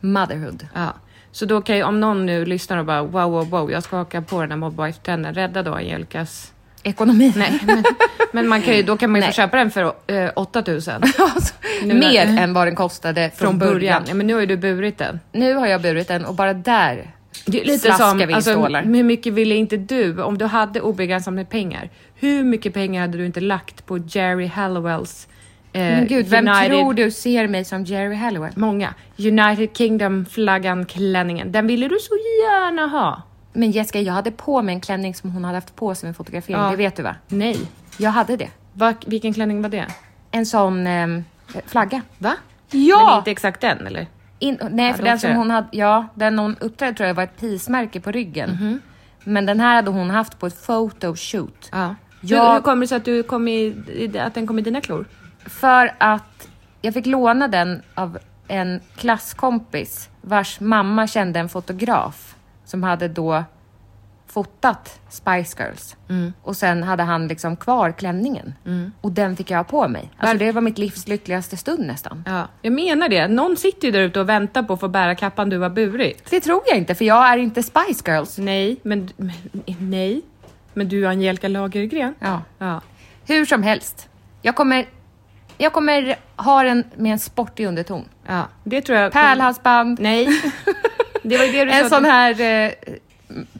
S1: motherhood.
S2: Ja. Så då kan ju, om någon nu lyssnar och bara wow, wow, wow, jag ska haka på den här Mobwife-trenden, rädda då Angelicas...
S1: Ekonomi.
S2: Nej, men, [LAUGHS] men man kan ju, då kan man ju
S1: Nej.
S2: få köpa den för eh, 8000
S1: [LAUGHS]
S2: [LAUGHS]
S1: Alltså,
S2: Nu när-
S1: Mer än vad den kostade från,
S2: från
S1: början.
S2: början. Ja, men nu har ju du burit den.
S1: Nu har jag burit den och bara där
S2: Det är lite
S1: slaskar
S2: som,
S1: vi in
S2: alltså,
S1: stålar.
S2: hur mycket ville inte du, om du hade obegränsat med pengar, hur mycket pengar hade du inte lagt på Jerry Hallowells eh,
S1: Men gud, vem
S2: United,
S1: tror du ser mig som Jerry Hallowell?
S2: Många. United Kingdom-flaggan, klänningen. Den ville du så gärna ha.
S1: Men Jessica, jag hade på mig en klänning som hon hade haft på sig vid fotografering,
S2: Ja.
S1: det vet du va?
S2: Nej.
S1: Jag hade det.
S2: Va, vilken klänning var det?
S1: En sån ehm, flagga.
S2: Va?
S1: Ja!
S2: Men inte exakt den, eller?
S1: In, nej, för
S2: då
S1: den
S2: tror
S1: som
S2: jag.
S1: hon hade, ja, den hon uppträdde tror jag var ett pismärke på ryggen. Men den här hade hon haft på ett photoshoot.
S2: Ja. Hur,
S1: Jag-
S2: hur kommer det sig att, du kom i, i- att den kom i dina klor?
S1: För att jag fick låna den av en klasskompis vars mamma kände en fotograf som hade då fotat Spice Girls. Och sen hade han liksom kvar klänningen. Och den fick jag ha på mig. Mm. Alltså det var mitt livs lyckligaste stund nästan.
S2: Ja. Jag menar det. Någon sitter ju där ute och väntar på att få bära kappan du har burit.
S1: Det tror jag inte, för jag är inte Spice Girls.
S2: Nej, men, men nej. Men du är Angelica Lagergren.
S1: Ja.
S2: Ja.
S1: Hur som helst. Jag kommer, jag kommer ha den med en sportig underton.
S2: ja. Det tror jag.
S1: Pärlhalsband.
S2: Nej. Det var ju det du sa.
S1: [LAUGHS] En sån här eh,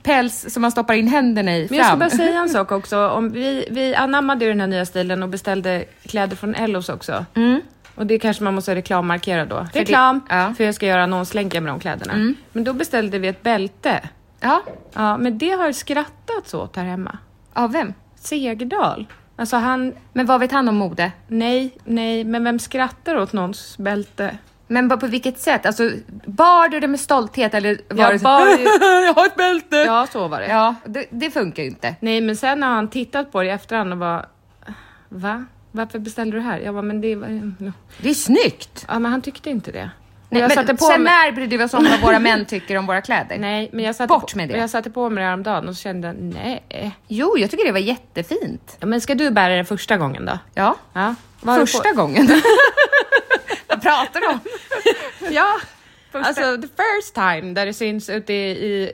S1: päls som man stoppar in händerna i
S2: Men jag ska
S1: fram.
S2: bara säga en
S1: [LAUGHS]
S2: sak också. Om vi, vi anammade ju den här nya stilen och beställde kläder från Ellos också.
S1: Mm.
S2: Och det kanske man måste reklammarkera då. Reklam! För,
S1: ja.
S2: jag ska göra annonslänkar med de kläderna.
S1: Mm.
S2: Men då beställde vi ett bälte.
S1: Ja,
S2: Ja, men det har skrattats åt här hemma.
S1: av vem?
S2: Segerdal. Alltså han,
S1: Men vad vet han om mode?
S2: nej, nej, men vem skrattar åt någons bälte?
S1: Men på, på vilket sätt? Alltså, bar du det med stolthet eller var
S2: Jag
S1: det så-
S2: bar ju-
S1: [LAUGHS] jag har ett bälte! Ja,
S2: Ja, så var det.
S1: det, det funkar ju inte.
S2: Nej, men sen har han tittat på det i efterhand och bara, va? Varför beställde du det här? Jag bara, men det var...
S1: Det är snyggt!
S2: Ja, men han tyckte inte det. Och
S1: Nej,
S2: jag
S1: men
S2: satte på
S1: sen
S2: mig...
S1: när brydde vi oss om vad våra män tycker om våra kläder?
S2: Nej, men jag satte
S1: Bort
S2: på...
S1: med det.
S2: men Jag satte på mig det häromdagen och så kände jag, nej.
S1: Jo, jag tycker det var jättefint.
S2: Ja, men ska du bära det första gången då?
S1: Ja.
S2: Ja. Vad har du
S1: Första gången. [LAUGHS] vad pratar du om?
S2: På? Ja. [LAUGHS] Alltså, the first time där det syns ute i,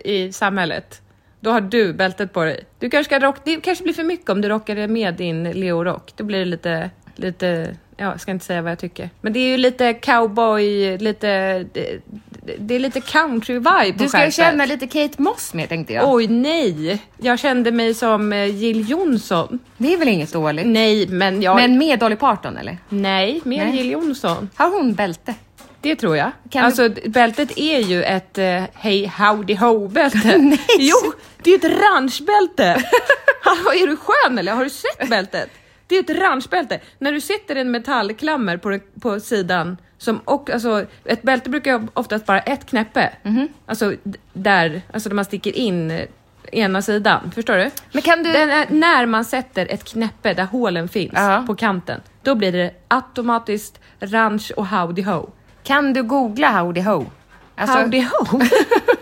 S2: i, i samhället. Då har du bältet på dig. Du kanske ska rock... Det kanske blir för mycket om du rockar det med din Leo-rock. Då blir det lite, lite... Ja, jag ska inte säga vad jag tycker. Men det är ju lite cowboy, lite... Det, det- det är lite country-vibe på
S1: Du ska ju
S2: skärpet.
S1: känna lite Kate Moss med tänkte jag.
S2: Oj nej, jag kände mig som eh, Jill Johnson.
S1: Det är väl inget dåligt?
S2: Nej, men jag...
S1: Men med Dolly Parton eller?
S2: Nej, mer
S1: Nej.
S2: Jill Johnson.
S1: Har hon bälte?
S2: Det tror jag.
S1: Kan
S2: alltså, d- bältet är ju ett eh, Hey Howdy Ho-bälte.
S1: [LAUGHS] Nej.
S2: Jo, det är ett ranchbälte.
S1: [LAUGHS]
S2: Hallå, är du skön eller? Har du sett bältet? Det är ett ranchbälte. När du sätter en metallklammer på, den- på sidan, som och, alltså, ett
S1: Mhm.
S2: bälte brukar ju oftast bara ett knäppe. Alltså d- där, alltså där man sticker in eh, ena sidan. Förstår du?
S1: Men kan du...
S2: Den är, när man sätter ett knäppe där hålen finns
S1: Ja.
S2: på kanten, då blir det automatiskt ranch och howdy ho.
S1: Kan du googla howdy ho? Alltså,
S2: howdy ho?
S1: [LAUGHS]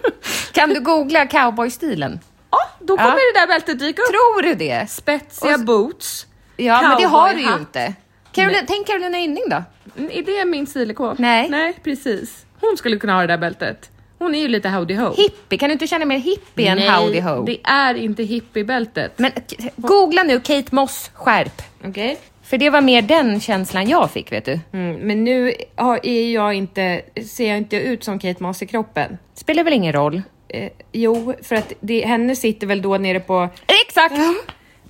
S1: Kan du googla cowboystilen?
S2: ja, då kommer det där bältet dyka upp.
S1: Tror du det?
S2: Spetsiga
S1: Och så-
S2: boots.
S1: Ja, men det har du ju
S2: cowboyhatt.
S1: inte. Carolina, tänk Carolina Gynning då.
S2: Mm, Är det min stilekop?
S1: Nej.
S2: Nej, precis. Hon skulle kunna ha det där bältet. Hon är ju lite howdy ho.
S1: Hippie, kan du inte känna mer hippie än
S2: Nej,
S1: howdy ho?
S2: det är inte hippiebältet.
S1: Men k- googla nu Kate Moss skärp.
S2: Okej.
S1: För det var mer den känslan jag fick, vet du.
S2: Mm, men nu har- är jag inte, ser jag inte ut som Kate Moss i kroppen.
S1: Spelar väl ingen roll?
S2: Eh, jo, för att det, henne sitter väl då nere på...
S1: Exakt!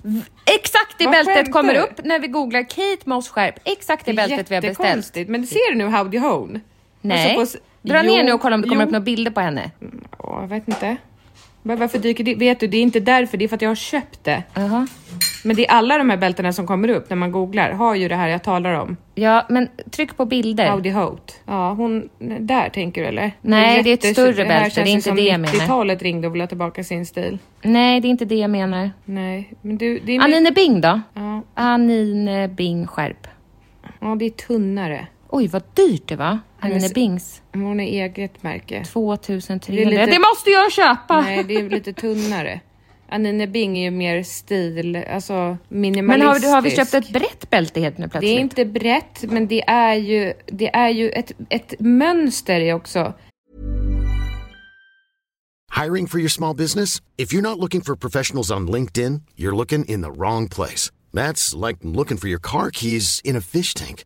S1: V- Exakt det
S2: Vad
S1: bältet
S2: skämtar
S1: kommer
S2: du?
S1: upp när vi googlar Kate Moss skärp. Exakt det bältet vi har beställt.
S2: Jättekonstigt. Men ser du nu Howdy Hone?
S1: Nej.
S2: Alltså på s-
S1: Dra ner
S2: Jo,
S1: nu och kolla om det kommer
S2: jo. Mm.
S1: upp några bilder på henne.
S2: Åh, jag vet inte. Var- Varför dyker det? Vet du, det är inte därför. Det är för att jag har köpt det.
S1: Jaha.
S2: Men det är alla de här bältena som kommer upp när man googlar. Har ju det här jag talar om.
S1: Ja, men tryck på bilder.
S2: Howdy Hoat. Ja, hon... Där tänker du eller?
S1: Nej, det är ett
S2: Jättes-
S1: större
S2: här
S1: bälte,
S2: känns
S1: det är inte
S2: som
S1: det jag menar.
S2: 90-talet ringde och ville ha tillbaka sin stil.
S1: Nej, det är inte det jag menar.
S2: Nej, men du... Det är Mm. mycket-
S1: Anine Bing då?
S2: Ja.
S1: Anine Bing skärp.
S2: ja, det är tunnare.
S1: Oj, vad dyrt det var. Anine
S2: Hennes-
S1: Bings.
S2: Men Hon är eget märke.
S1: 2300.
S2: Det
S1: Det,
S2: är lite-
S1: måste jag köpa!
S2: Nej, det är ju lite
S1: [LAUGHS]
S2: tunnare. Anine Bing är ju mer stil, alltså minimalistisk.
S1: men har, vi- har vi köpt ett brett bälte helt nu
S2: Det är
S1: plötsligt?
S2: inte brett, men det är ju, det är ju ett, ett mönster i också.
S3: Hiring for your small business? If you're not looking for professionals on LinkedIn, you're looking in the wrong place. That's like looking for your car keys in a fish tank.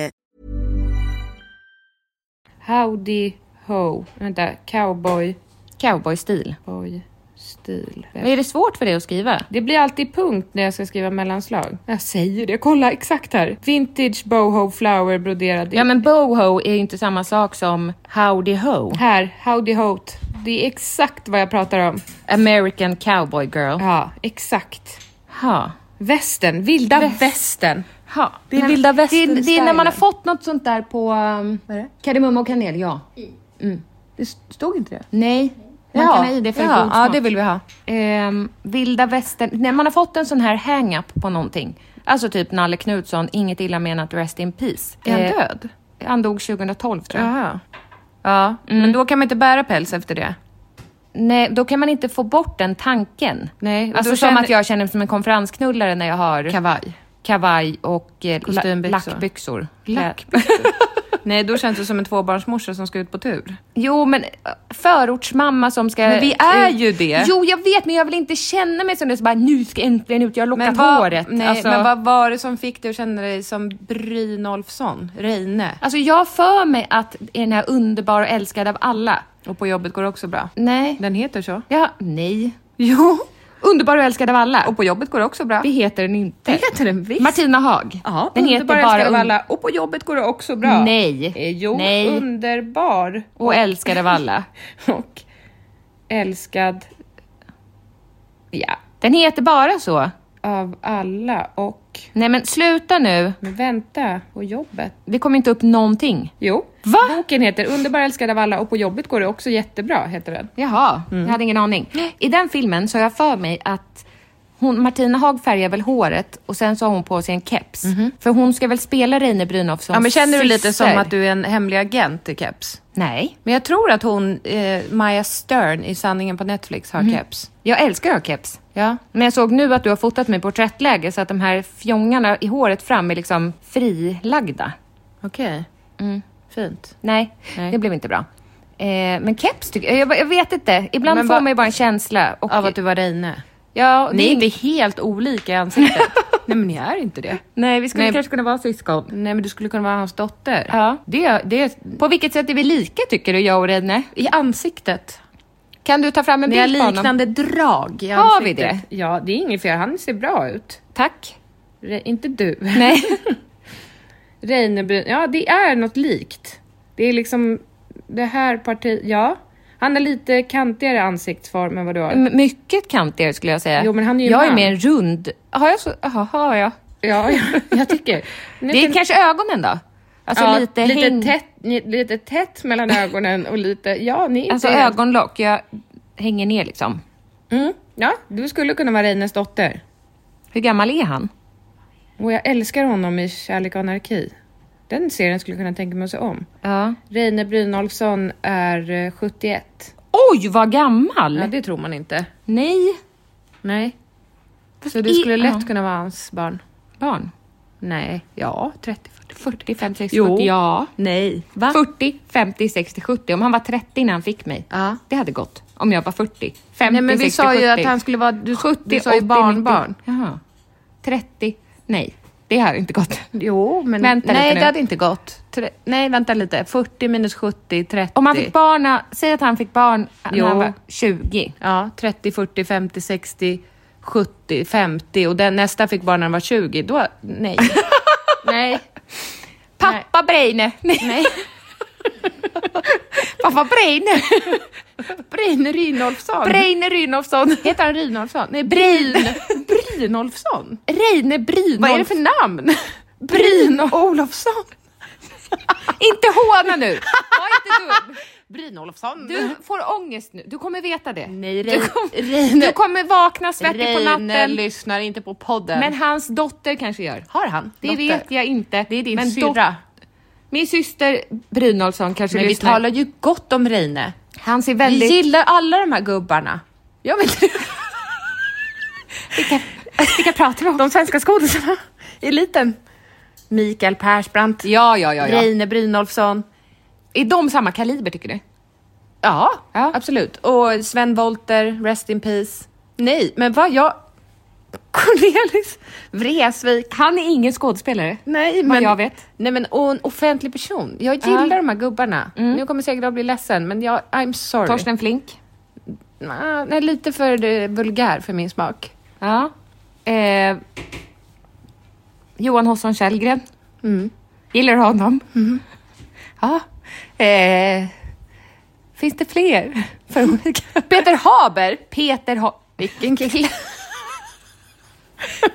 S2: Howdy ho. Vänta, cowboy.
S1: Cowboystil.
S2: Boy. Stil.
S1: Men Är det svårt för dig att skriva?
S2: Det blir alltid punkt när jag ska skriva mellanslag. Jag säger det, kolla exakt här. Vintage boho flower broderad.
S1: Ja, men boho är ju inte samma sak som howdy ho.
S2: Här, howdy hoat. Det är exakt vad jag pratar om.
S1: American cowboy girl.
S2: Ja, exakt.
S1: Ha.
S2: Västen, vilda västen.
S1: Ha.
S2: Det är vilda
S1: det, är- det är när
S2: västern-stilen.
S1: man har fått något sånt där på um, kardemumma och kanel, ja. Mm. Det stod inte det? Nej. Man
S2: Ja.
S1: kan ha i det för
S2: Ja,
S1: god
S2: ja,
S1: smak.
S2: det vill vi ha.
S1: Ehm, vilda västern, när man har fått en sån här hang-up på någonting. Alltså typ Nalle Knutsson, inget illa menat, rest in peace.
S2: Är han
S1: Eh,
S2: död?
S1: Han dog 2012 tror jag.
S2: Jaha. Ja, men då kan man inte bära päls efter det.
S1: Nej, då kan man inte få bort den tanken.
S2: Nej, och
S1: alltså
S2: då
S1: som
S2: känner-
S1: att jag känner mig som en konferensknullare när jag har
S2: Kavaj.
S1: kavaj och eh, la-
S2: Kostymbyxor.
S1: lackbyxor.
S2: [LAUGHS]
S1: Eh,
S2: Nej, då känns det som en tvåbarnsmorsa som ska ut på tur.
S1: Jo, men eh, förortsmamma som ska...
S2: Men vi är ju det.
S1: Jo, jag vet, men jag vill inte känna mig som det. Så bara, nu ska jag äntligen ut, jag har lockat håret.
S2: nej,
S1: alltså,
S2: men vad var det som fick dig att känna dig som Brynolfsson? Reine?
S1: alltså, jag för mig att är den här underbar och älskad av alla.
S2: Och på jobbet går det också bra.
S1: Nej.
S2: Den heter så.
S1: Ja, nej.
S2: Jo.
S1: Underbar och älskad av alla.
S2: Och på jobbet går det också bra.
S1: det heter den
S2: Det
S1: inte.
S2: heter den visst.
S1: Martina Haag.
S2: Ja,
S1: den heter
S2: underbar,
S1: bara
S2: älskad av
S1: Un-
S2: alla. Och på jobbet går det också bra.
S1: Nej.
S2: Eh, jo,
S1: Nej.
S2: underbar.
S1: och älskad av alla.
S2: [LAUGHS] Och älskad. Ja.
S1: Den heter bara så.
S2: Av alla och
S4: chock.
S1: Nej men sluta nu.
S4: Men vänta, på jobbet?
S1: Vi kommer inte upp någonting.
S4: Jo,
S1: Va?
S4: boken heter Underbar älskad av alla och på jobbet går det också jättebra, heter den.
S1: Jaha, jag hade ingen aning. I den filmen så har jag för mig att hon, Martina Haag färgar väl håret och sen så har hon på sig en keps. För hon ska väl spela Reine Brynolfssons
S2: Ja, men känner du lite
S1: syster?
S2: som att du är en hemlig agent i keps?
S1: Nej.
S2: Men jag tror att hon, eh, Maja Stern i Sanningen på Netflix har
S4: Mm.
S2: keps.
S1: Jag älskar att ha keps.
S2: Ja.
S1: Men jag såg nu att du har fotat mig i porträttläge så att de här fjongarna i håret fram är liksom frilagda.
S2: Okej. Mm. Fint.
S1: Nej,
S2: Nej.
S1: det blev inte bra. Eh, men keps tycker jag, jag, jag vet inte. Ibland
S2: Men
S1: får
S2: vad-
S1: man ju bara en känsla. Och,
S2: Av att du
S4: [LAUGHS]
S2: var Reine.
S1: ja, det
S2: Ni är
S1: ing-
S2: inte helt olika i ansiktet. Nej men ni är inte det.
S1: [LAUGHS] Nej, vi skulle
S2: Nej.
S1: kanske kunna vara syskon.
S2: Nej men du skulle kunna vara hans dotter.
S1: Ja.
S2: Det, det,
S1: På vilket sätt är vi lika tycker du, jag och Reine?
S2: I ansiktet.
S1: Kan du ta fram en
S2: Ni har
S1: bild på honom?
S2: liknande drag i
S1: Har vi
S2: ansiktet.
S1: det?
S4: Ja, det är inget fel, han ser bra ut.
S1: Tack.
S4: Re, inte du. [LAUGHS]
S1: Nej.
S4: Reinebryn, ja det är något likt. Det är liksom det här partiet, ja. Han har lite kantigare ansiktsform än vad du har.
S1: M- mycket kantigare skulle jag säga.
S4: Jo, men han är ju
S1: jag är
S4: man.
S1: mer en rund. Har jag så? Jaha, har jag?
S4: Ja, jag, jag tycker. Nu
S1: Det är
S4: kan-
S1: kanske ögonen då? [LAUGHS] Alltså
S4: ja,
S1: lite,
S4: lite,
S1: häng...
S4: tätt, ni- lite tätt mellan ögonen och lite, ja ni är inte
S1: Alltså
S4: helt-
S1: ögonlock. Jag hänger ner liksom.
S4: Mm, ja, du skulle kunna vara Reines dotter.
S1: Hur gammal är han?
S4: Och jag älskar honom i Kärlek och anarki. Den serien skulle jag kunna tänka mig att se om.
S1: Ja.
S4: Reine Brynolfsson är eh, 71.
S1: Oj, vad gammal!
S4: Ja, det tror man inte.
S1: Nej.
S4: Nej. Så
S1: i-
S4: du skulle lätt
S1: ja.
S4: kunna vara hans barn?
S1: Barn?
S4: Nej. Ja, 30, 40.
S1: 40, 50, 60,
S4: Jo.
S1: 70. Ja.
S4: Nej. Va?
S1: 40, 50, 60, 70. Om han var 30 när han fick mig.
S4: Ja.
S1: Det hade gått. Om jag var 40, 50,
S2: Nej men vi
S1: 60,
S2: sa
S1: 70.
S2: ju att han skulle vara, du,
S1: 70,
S2: du sa ju
S1: 80,
S2: barnbarn.
S1: 90. Jaha. 30. Nej, det hade inte gått.
S2: [LAUGHS] Jo, men...
S1: Vänta
S2: nej,
S1: lite nu.
S2: det hade inte gått. Tre, nej, vänta lite. 40 minus 70, 30.
S1: Om han fick barn, när- säg att han fick barn när
S2: Jo.
S1: han var 20.
S2: Ja, 30, 40, 50, 60, 70, 50 och den nästa fick barn när han var 20. Då, nej. nej.
S1: Pappa Breine!
S2: Nej.
S1: [LAUGHS] Pappa Breine!
S2: [LAUGHS] Breine Rynolfsson.
S1: Breine Rynolfsson.
S2: Heter han Rynolfsson? Nej, Brin. [LAUGHS] Brynolfsson.
S1: Reine Brynolf.
S2: Vad är det för [LAUGHS] namn?
S1: Bryn?
S2: Olofsson.
S1: Inte håna nu! Var inte dum.
S2: [LAUGHS] Brynolfsson.
S1: Du får ångest nu. Du kommer veta det.
S2: Nej,
S1: du,
S2: Rein-
S1: kommer,
S2: Reine-
S1: du kommer vakna svettig på
S2: Reine
S1: natten.
S2: lyssnar inte på podden.
S1: Men hans dotter kanske gör.
S2: har han?
S1: Det
S2: dotter?
S1: vet jag inte.
S2: Det är din
S1: men dot-
S2: syrra.
S1: Min syster Brynolfsson kanske
S2: Men vi
S1: lyssnar.
S2: talar ju gott om Reine.
S1: Han ser
S2: Vi
S1: väldigt...
S2: gillar alla de här gubbarna. Jag vet inte.
S1: Vilka, vilka pratar vi om?
S2: De svenska skådisarna. Eliten. Mikael Persbrandt.
S1: Ja, ja, ja. ja.
S2: Reine Brynolfsson.
S1: Är de samma kaliber tycker du?
S2: Ja,
S1: Ja.
S2: absolut. Och Sven Wollter, Rest in Peace. Nej, men vad jag... Cornelis Vreeswijk.
S1: Han är ingen skådespelare.
S2: Nej,
S1: Vad jag vet.
S2: Nej, men och en offentlig person. Jag gillar de här gubbarna. Nu kommer säkert jag bli ledsen, men jag, I'm sorry.
S1: Torsten Flink.
S2: Ah, Nej, lite för eh, vulgär för min smak.
S1: Ja. Eh, Johan Håsson Källgren. Mm. Gillar du honom?
S2: [LAUGHS]
S1: Ja. Eh, finns det [LAUGHS] fler? För olika?
S2: Peter Haber!
S1: Peter ha Vilken
S2: [LAUGHS]
S1: kille!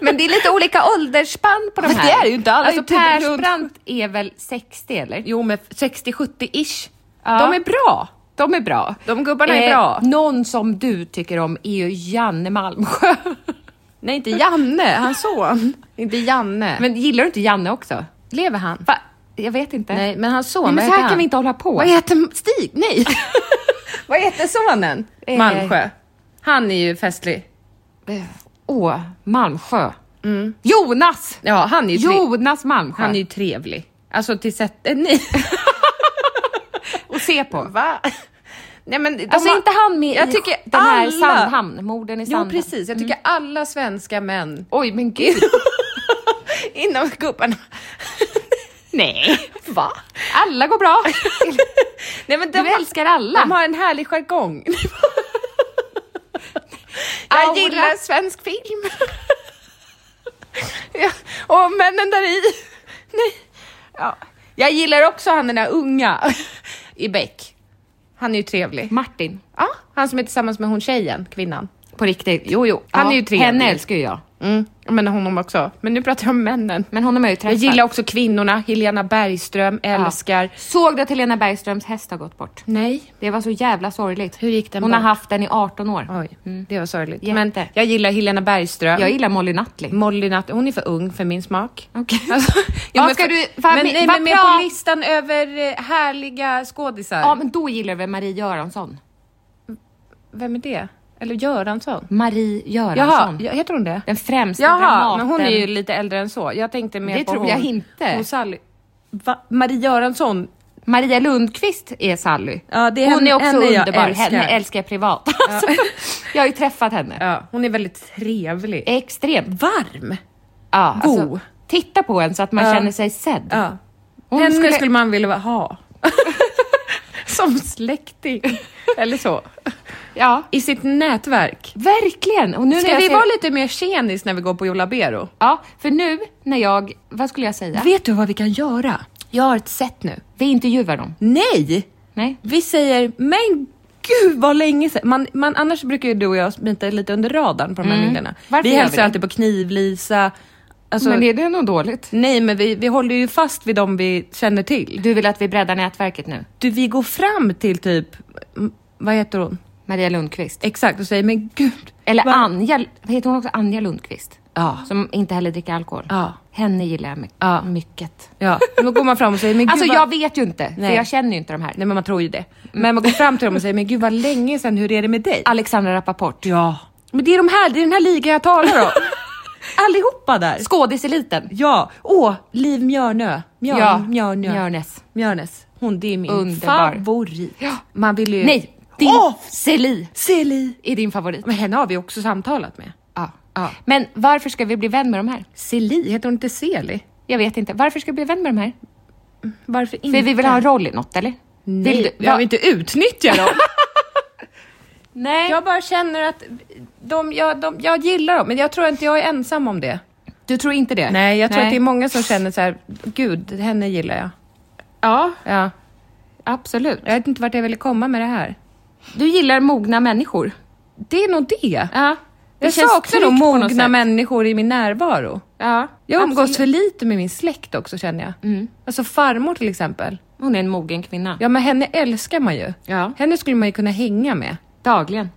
S1: Men det är lite olika åldersspann på de
S2: Men
S1: här.
S2: det är det ju inte. Alla är
S1: alltså
S2: ju typ runt-
S1: Persbrandt är väl 60 eller?
S2: Jo, men 60-70-ish.
S1: Ja.
S2: De är bra.
S1: De är bra. Eh,
S2: De gubbarna är bra.
S1: Någon som du tycker om är ju Janne Malmsjö.
S2: [LAUGHS] Nej, inte Janne, hans son. [LAUGHS] inte Janne.
S1: Men gillar du inte Janne också?
S2: lever han?
S1: Va? Jag vet inte.
S2: Nej, men hans son,
S1: Nej,
S2: vad
S1: men så
S2: heter
S1: här kan
S2: han?
S1: vi inte hålla på.
S2: Vad heter Stig? Nej! [LAUGHS]
S1: [LAUGHS]
S2: Vad heter sonen?
S1: Eh.
S2: Malmsjö. Han är ju festlig.
S1: Eh, Åh, Malmsjö. Mm. Jonas!
S2: Ja, han är ju, trev-
S1: Jonas Malmsjö.
S2: han är ju trevlig. Alltså till sätt... eh, Nej.
S1: [LAUGHS] Och se på.
S2: Va? [LAUGHS] Nej men de
S1: Alltså
S2: har-
S1: inte han med
S2: jag
S1: i
S2: tycker
S1: den här
S2: alla-
S1: Sandhamn, morden i
S2: Jo
S1: Sandhamn.
S2: precis, jag tycker alla svenska män [LAUGHS]
S1: Oj, men [LAUGHS] gud.
S2: inom gubbarna.
S1: Nej.
S2: Va?
S1: Alla går [LAUGHS] bra.
S2: [LAUGHS] Nej, men
S1: Du älskar alla.
S2: De har en härlig jargong. jag
S1: Aura.
S2: gillar svensk film. [LAUGHS] ja, och männen där i. [LAUGHS] Nej. Ja. Jag gillar också han den där unga [LAUGHS] i Beck. Han är ju trevlig.
S1: Martin.
S2: Ja, han som är tillsammans med hon tjejen, kvinnan.
S1: På riktigt? Jo, jo.
S5: Han
S1: Ja,
S5: är ju trevlig.
S1: Henne älskar ju jag.
S2: Mm. Men honom också. Men nu pratar jag om männen.
S1: Men honom har jag ju
S2: Jag
S1: träffat.
S2: gillar också kvinnorna. Helena Bergström älskar.
S1: Ja. Såg du att Helena Bergströms häst har gått bort?
S2: Nej.
S1: Det var så jävla sorgligt.
S2: Hur gick den
S1: Hon
S2: bort?
S1: har haft den i 18 år.
S2: Oj, det var sorgligt.
S1: Jätte.
S2: Men jag gillar Helena Bergström.
S1: Jag gillar Molly Nutley.
S2: Molly Nutt, hon är för ung för min smak.
S1: Okej.
S2: [LAUGHS] Alltså, jo,
S1: Vad
S2: men
S1: ska
S2: för-
S1: du- vad-
S2: men, nej,
S1: vad
S2: men med
S1: pra-
S2: på listan över eh, härliga skådisar.
S1: Ja, men då gillar du väl Marie Göransson?
S2: Vem är det? Eller Göransson?
S1: Marie
S2: Jaha,
S1: Göransson.
S2: jag- heter hon det?
S1: Den främsta
S2: Jaha,
S1: dramaten.
S2: men hon är ju lite äldre än så. Jag tänkte mer
S1: Det
S2: på
S1: tror
S2: hon,
S1: jag inte.
S2: Hon Sally. Va? Marie Göransson?
S1: Maria Lundqvist är Sally.
S2: Ja, det är
S1: hon
S2: henne-
S1: är också
S2: henne jag
S1: underbar.
S2: älskar.
S1: Henne älskar jag privat. Alltså, jag har ju träffat henne.
S2: Ja, hon är väldigt trevlig.
S1: Extremt.
S2: Varm.
S1: Ja, alltså,
S2: God.
S1: titta på en så att man
S2: Ja.
S1: känner sig sedd.
S2: Ja.
S1: Hon
S2: Henne skulle...
S1: skulle-
S2: man vilja ha. [LAUGHS] Som släkting. Eller så.
S1: Ja,
S2: I sitt nätverk.
S1: verkligen. Och nu när
S2: Ska
S1: jag
S2: vi
S1: ser-
S2: vara lite mer tjenis när vi går på Jolabero?
S1: Ja, för nu när jag... Vad skulle jag säga?
S2: Vet du vad vi kan göra?
S1: Jag har ett sätt nu. Vi intervjuar dem.
S2: Nej!
S1: Nej?
S2: Vi säger, men gud vad länge sedan. Man, man, annars brukar ju du och jag smita lite under radarn på de här middagarna.
S1: Varför
S2: Mm. Vi
S1: gör vi
S2: hälsar
S1: det?
S2: alltid på Knivlisa. Alltså,
S1: men är det nog dåligt?
S2: Nej, men vi, vi håller ju fast vid dem vi känner till.
S1: Du vill att vi breddar nätverket nu?
S2: Du, vi går fram till typ, m- vad heter hon?
S1: Maria Lundqvist.
S2: Exakt, och säger, men gud.
S1: Eller
S2: vad-
S1: Anja... Vad heter hon också? Anja Lundqvist.
S2: Ja.
S1: Som inte heller dricker alkohol.
S2: Ja.
S1: Henne gillar jag my-
S2: Ja.
S1: mycket.
S2: Ja, men då går man fram och säger, men gud
S1: Alltså
S2: vad...
S1: jag vet ju inte, för
S2: Nej.
S1: jag känner ju inte de här.
S2: Nej, men man tror ju det. Men man går fram till dem och säger, men gud vad länge sedan, hur är det med dig?
S1: Alexandra Rappaport.
S2: Ja. Men det är, de här, det är den här ligan jag talar
S1: [LAUGHS]
S2: om. Allihopa där.
S1: Skådiseliten.
S2: Ja. Åh, Liv Mjörnö. Mjörn, Mjörnö.
S1: Mjörnes.
S2: Mjörnes. Hon, det är min
S1: Underbar.
S2: favorit. Man vill ju...
S1: Nej, din
S2: Åh!
S1: Celi
S2: Celi.
S1: är din favorit.
S2: Men henne har vi också samtalat med.
S1: Ja. Men varför ska vi bli vän med de här?
S2: Celi, heter hon inte Celi?
S1: Jag vet inte. Varför ska vi bli vän med de här?
S2: Varför inte?
S1: För vi vill ha en roll i något, eller?
S2: Nej,
S1: vill du,
S2: jag
S1: va-
S2: vill inte utnyttja [LAUGHS] dem.
S1: Nej.
S2: jag bara känner att de, jag, de, jag gillar dem, men jag tror inte jag är ensam om det.
S1: Du tror inte det?
S2: Nej, jag tror att det är många som känner så här, gud, henne gillar jag.
S1: Ja,
S2: Ja.
S1: absolut.
S2: Jag vet inte vart jag ville komma med det här.
S1: Du gillar mogna människor.
S2: Det är nog det.
S1: Ja.
S2: jag
S1: känns
S2: saknar nog
S1: tryggt på något
S2: mogna
S1: sätt.
S2: människor i min närvaro.
S1: Ja,
S2: Jag umgås
S1: absolut.
S2: för lite med min släkt också känner jag. Alltså farmor till exempel.
S1: Hon är en mogen kvinna.
S2: Ja men henne älskar man ju.
S1: Ja.
S2: Henne skulle man ju kunna hänga med.
S1: Dagligen.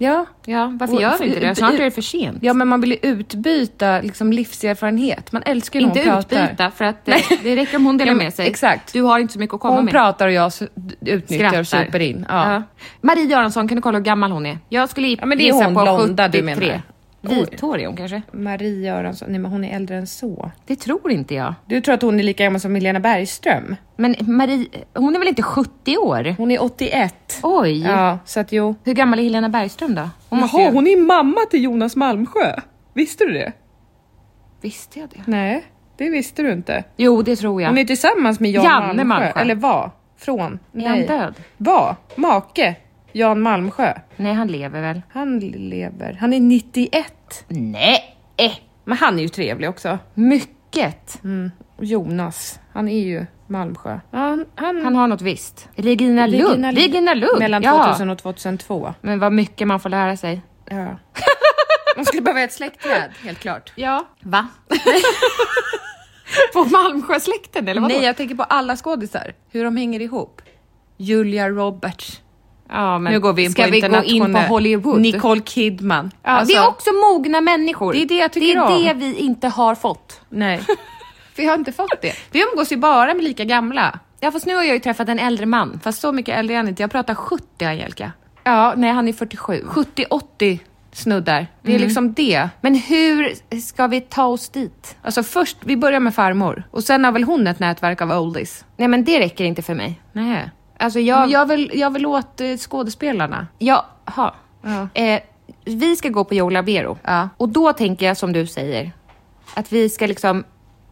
S2: Ja.
S1: Ja, varför
S2: Och-
S1: gör vi inte det? Snart är det för sent.
S2: Ja men man vill ju utbyta liksom, livserfarenhet. Man älskar ju när
S1: inte
S2: hon pratar.
S1: utbyta, för att det, det räcker om hon delar
S2: Ja, men
S1: med sig.
S2: exakt.
S1: Du har inte så mycket att komma
S2: Hon
S1: med.
S2: pratar och jag su- utnyttjar och
S1: Skrattar.
S2: super in. Ja.
S1: Ja. Marie Göransson, kan du kolla hur gammal hon är? Jag skulle
S2: Ja, men det är
S1: gissa
S2: hon
S1: på
S2: blonda du
S1: 73.
S2: menar.
S1: Vithårig är hon kanske?
S2: Marie Göransson, nej men hon är äldre än så.
S1: Det tror inte jag.
S2: Du tror att hon är lika gammal som Helena Bergström?
S1: Men Marie, hon är väl inte 70 år?
S2: Hon är 81.
S1: Oj!
S2: Ja, så att jo.
S1: Hur gammal är Helena Bergström då? Hon måste ju...
S2: Mm. hon är mamma till Jonas Malmsjö. Visste du det?
S1: Visste jag det?
S2: Nej, det visste du inte.
S1: Jo, det tror jag.
S2: Hon är tillsammans med Jan
S1: Janne
S2: Malmsjö.
S1: Malmsjö.
S2: Eller var? Från?
S1: Är han död?
S2: Var? Make? Jan Malmsjö.
S1: Nej, han lever väl?
S2: Han lever. Han är 91.
S1: Nej!
S2: Men han är ju trevlig också.
S1: Eh, Mycket!
S2: Mm. Jonas, han är ju Malmsjö. Ja, Han, han,
S1: Han har något visst. Regina Lund. Regina Lund!
S2: Mellan
S1: ja.
S2: 2000 och 2002.
S1: Men vad mycket man får lära sig.
S2: Ja.
S1: [LAUGHS]
S2: Man skulle behöva ett släktträd, helt klart.
S1: Ja. Va? [LAUGHS] på Malmsjösläkten eller vadå?
S2: Nej, jag tänker på alla skådisar. Hur de hänger ihop. Julia Roberts.
S1: Ja, men
S2: nu går vi in
S1: ska
S2: på
S1: vi gå in på
S2: internationell-
S1: Hollywood?
S2: Nicole Kidman. Alltså,
S1: ja, det är också mogna människor.
S2: Det är det jag tycker
S1: Det är
S2: om.
S1: det vi inte har fått. [LAUGHS]
S2: Nej. Vi har inte fått det. Vi umgås ju bara med lika gamla.
S1: Ja, fast nu har jag ju träffat en äldre man.
S2: Fast så mycket äldre är han inte. Jag pratar 70, Angelica.
S1: Ja, nej, han är Mm. 47.
S2: 70-80 snuddar. Det är liksom det.
S1: Men hur ska vi ta oss dit?
S2: Alltså först, vi börjar med farmor. Och sen har väl hon ett nätverk av oldies?
S1: Nej, men det räcker inte för mig.
S2: Nej.
S1: Alltså,
S2: Ja.
S1: jag...
S2: Men jag vill, jag vill åt eh, skådespelarna.
S1: jag ha.
S2: Ja.
S1: Eh, vi ska gå på Joe Labero.
S2: Ja.
S1: Och då tänker jag som du säger, att vi ska liksom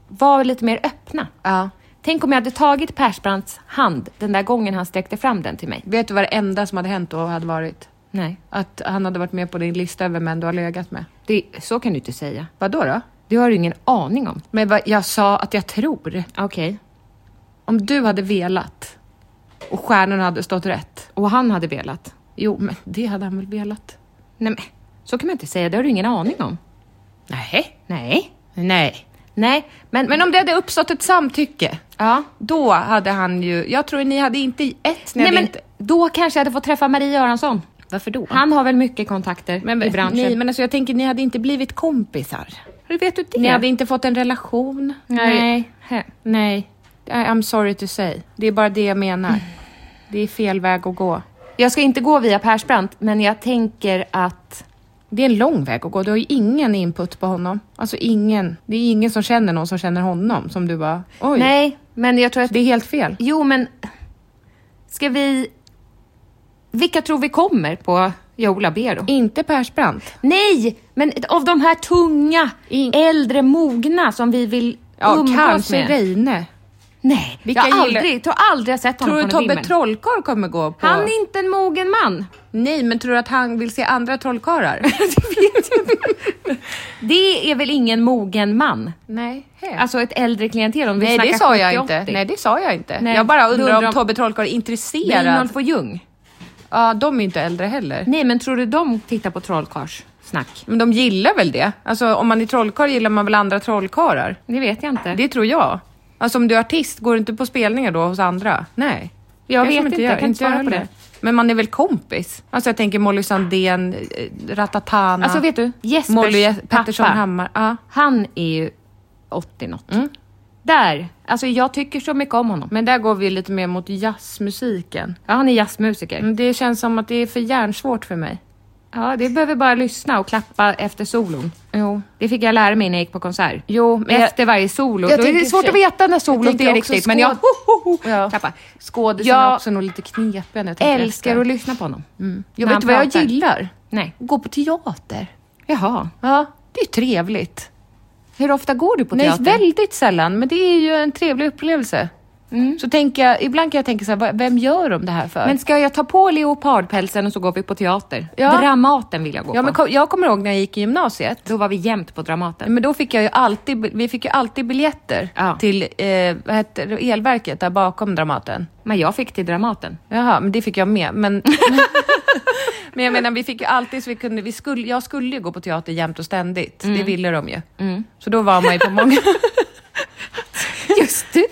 S1: vara lite mer öppna.
S2: Ja.
S1: Tänk om jag hade tagit Persbrandts hand den där gången han sträckte fram den till mig.
S2: Vet du vad det enda som hade hänt då hade varit?
S1: Nej,
S2: Att han hade varit med på din lista över män du har legat med.
S1: det, så kan du inte säga.
S2: Vad då? då?
S1: Det har du ingen aning om.
S2: Men vad jag sa att jag tror.
S1: Okej.
S2: Om du hade velat och stjärnorna hade stått rätt.
S1: Och han hade velat.
S2: Jo, men det hade han väl velat?
S1: Nej, men Så kan man inte säga, det har du ingen aning om. Nej, nej, nej, nej. Men,
S2: Men om det hade uppstått ett samtycke,
S1: ja.
S2: då hade han ju... Jag tror ni hade inte... Ett, ni
S1: Nej,
S2: hade
S1: men
S2: inte,
S1: då kanske jag hade fått träffa Marie Göransson.
S2: varför då?
S1: Han har väl mycket kontakter i branschen.
S2: Nej, men alltså jag tänker, ni hade inte blivit kompisar.
S1: Hur vet du det?
S2: Ni hade inte fått en relation.
S1: Nej.
S2: Nej. Nej. I- I'm sorry to say. Det är bara det jag menar. Det är fel väg att gå.
S1: Jag ska inte gå via Persbrandt, men jag tänker att...
S2: Det är en lång väg att gå. Du har ju ingen input på honom. Alltså ingen. Det är ingen som känner någon som känner honom som du bara, oj.
S1: Nej, men jag tror att...
S2: Det är helt fel.
S1: Jo, men... Ska vi... Vilka tror vi kommer på Joe Bero?
S2: Inte Persbrandt.
S1: Nej, men av de här tunga,
S2: In-
S1: äldre, mogna som vi vill
S2: Ja,
S1: umgås
S2: kanske
S1: med.
S2: Reine.
S1: Nej,
S2: Vilka
S1: jag har
S2: gillar-
S1: aldrig, tror aldrig jag sett honom
S2: Tror du
S1: på en
S2: Tobbe
S1: vimmel.
S2: Trollkarl kommer gå på...
S1: Han är inte en mogen man.
S2: Nej, men tror du att han vill se andra trollkarlar?
S1: Det är väl ingen mogen man?
S2: [LAUGHS] Nej. he.
S1: Alltså ett äldre klientel om vi
S2: Nej,
S1: snackar
S2: det sa jag
S1: 70,
S2: inte.
S1: 80.
S2: Nej, det sa jag inte.
S1: Nej,
S2: Jag bara
S1: du
S2: undrar
S1: undrar
S2: om
S1: om-
S2: Tobbe Trollkarl är
S1: Reinhold
S2: intresserad.
S1: von Jung.
S2: Ja, de är inte äldre heller.
S1: Nej, men tror du de tittar på trollkarlssnack?
S2: Men de gillar väl det? Alltså om man är trollkarl gillar man väl andra trollkarlar?
S1: Det vet jag inte.
S2: Det tror jag. Alltså om du är artist, går du inte på spelningar då hos andra? Nej.
S1: Jag
S2: Kanske
S1: vet
S2: de
S1: inte, jag kan inte svara på
S2: heller.
S1: det.
S2: Men man är väl kompis? Alltså jag tänker Molly Sandén, eh, Ratatana.
S1: Alltså vet du, Jespers
S2: Molly Je-
S1: pappa,
S2: Pettersson Hammar. Ja.
S1: han är ju 80 något.
S2: Mm.
S1: Där, alltså jag tycker så mycket om honom.
S2: Men där går vi lite mer mot jazzmusiken.
S1: Ja, han är jazzmusiker.
S2: Men Det känns som att det är för hjärnsvårt för mig.
S1: Ja, det behöver bara lyssna och klappa efter solon.
S2: Jo.
S1: Det fick jag lära mig när jag gick på konsert.
S2: Jo, men jag-
S1: efter varje solo.
S2: jag
S1: Då är
S2: tänker
S1: det
S2: i och
S1: svårt
S2: för
S1: att
S2: sig-
S1: veta när
S2: jag
S1: solot
S2: tänker
S1: är
S2: också
S1: riktigt, men jag
S2: skåd-
S1: ho, ho, ho,
S2: Ja.
S1: klappa.
S2: Skådisarna
S1: Jag-
S2: är också nog lite knepiga när jag tänker
S1: Älskar
S2: efter.
S1: att lyssna på honom. Mm.
S2: Jag vet du vad jag gillar?
S1: Nej.
S2: Gå på teater.
S1: Jaha.
S2: Ja, det är ju trevligt.
S1: Hur ofta går du på
S2: Nej,
S1: teater?
S2: väldigt sällan, men det är ju en trevlig upplevelse. Så tänker jag, ibland kan jag tänka så här, vad- vem gör de det här för?
S1: Men ska jag ta på leopardpälsen och så går vi på teater?
S2: Ja.
S1: Dramaten vill jag gå
S2: ja,
S1: på.
S2: men kom, jag kommer ihåg när jag gick i gymnasiet.
S1: Då var vi jämt på Dramaten.
S2: Men då fick jag ju alltid, vi fick ju alltid biljetter
S1: Ja.
S2: till eh, vad heter det, elverket där bakom Dramaten.
S1: Men jag fick till Dramaten.
S2: Jaha, men det fick jag med. Men, men jag menar, vi fick ju alltid så vi kunde, vi skulle, jag skulle ju gå på teater jämt och ständigt. Det
S1: Mm.
S2: ville de ju. Så då var man ju på
S1: [LAUGHS]
S2: många...
S1: [LAUGHS] Just du!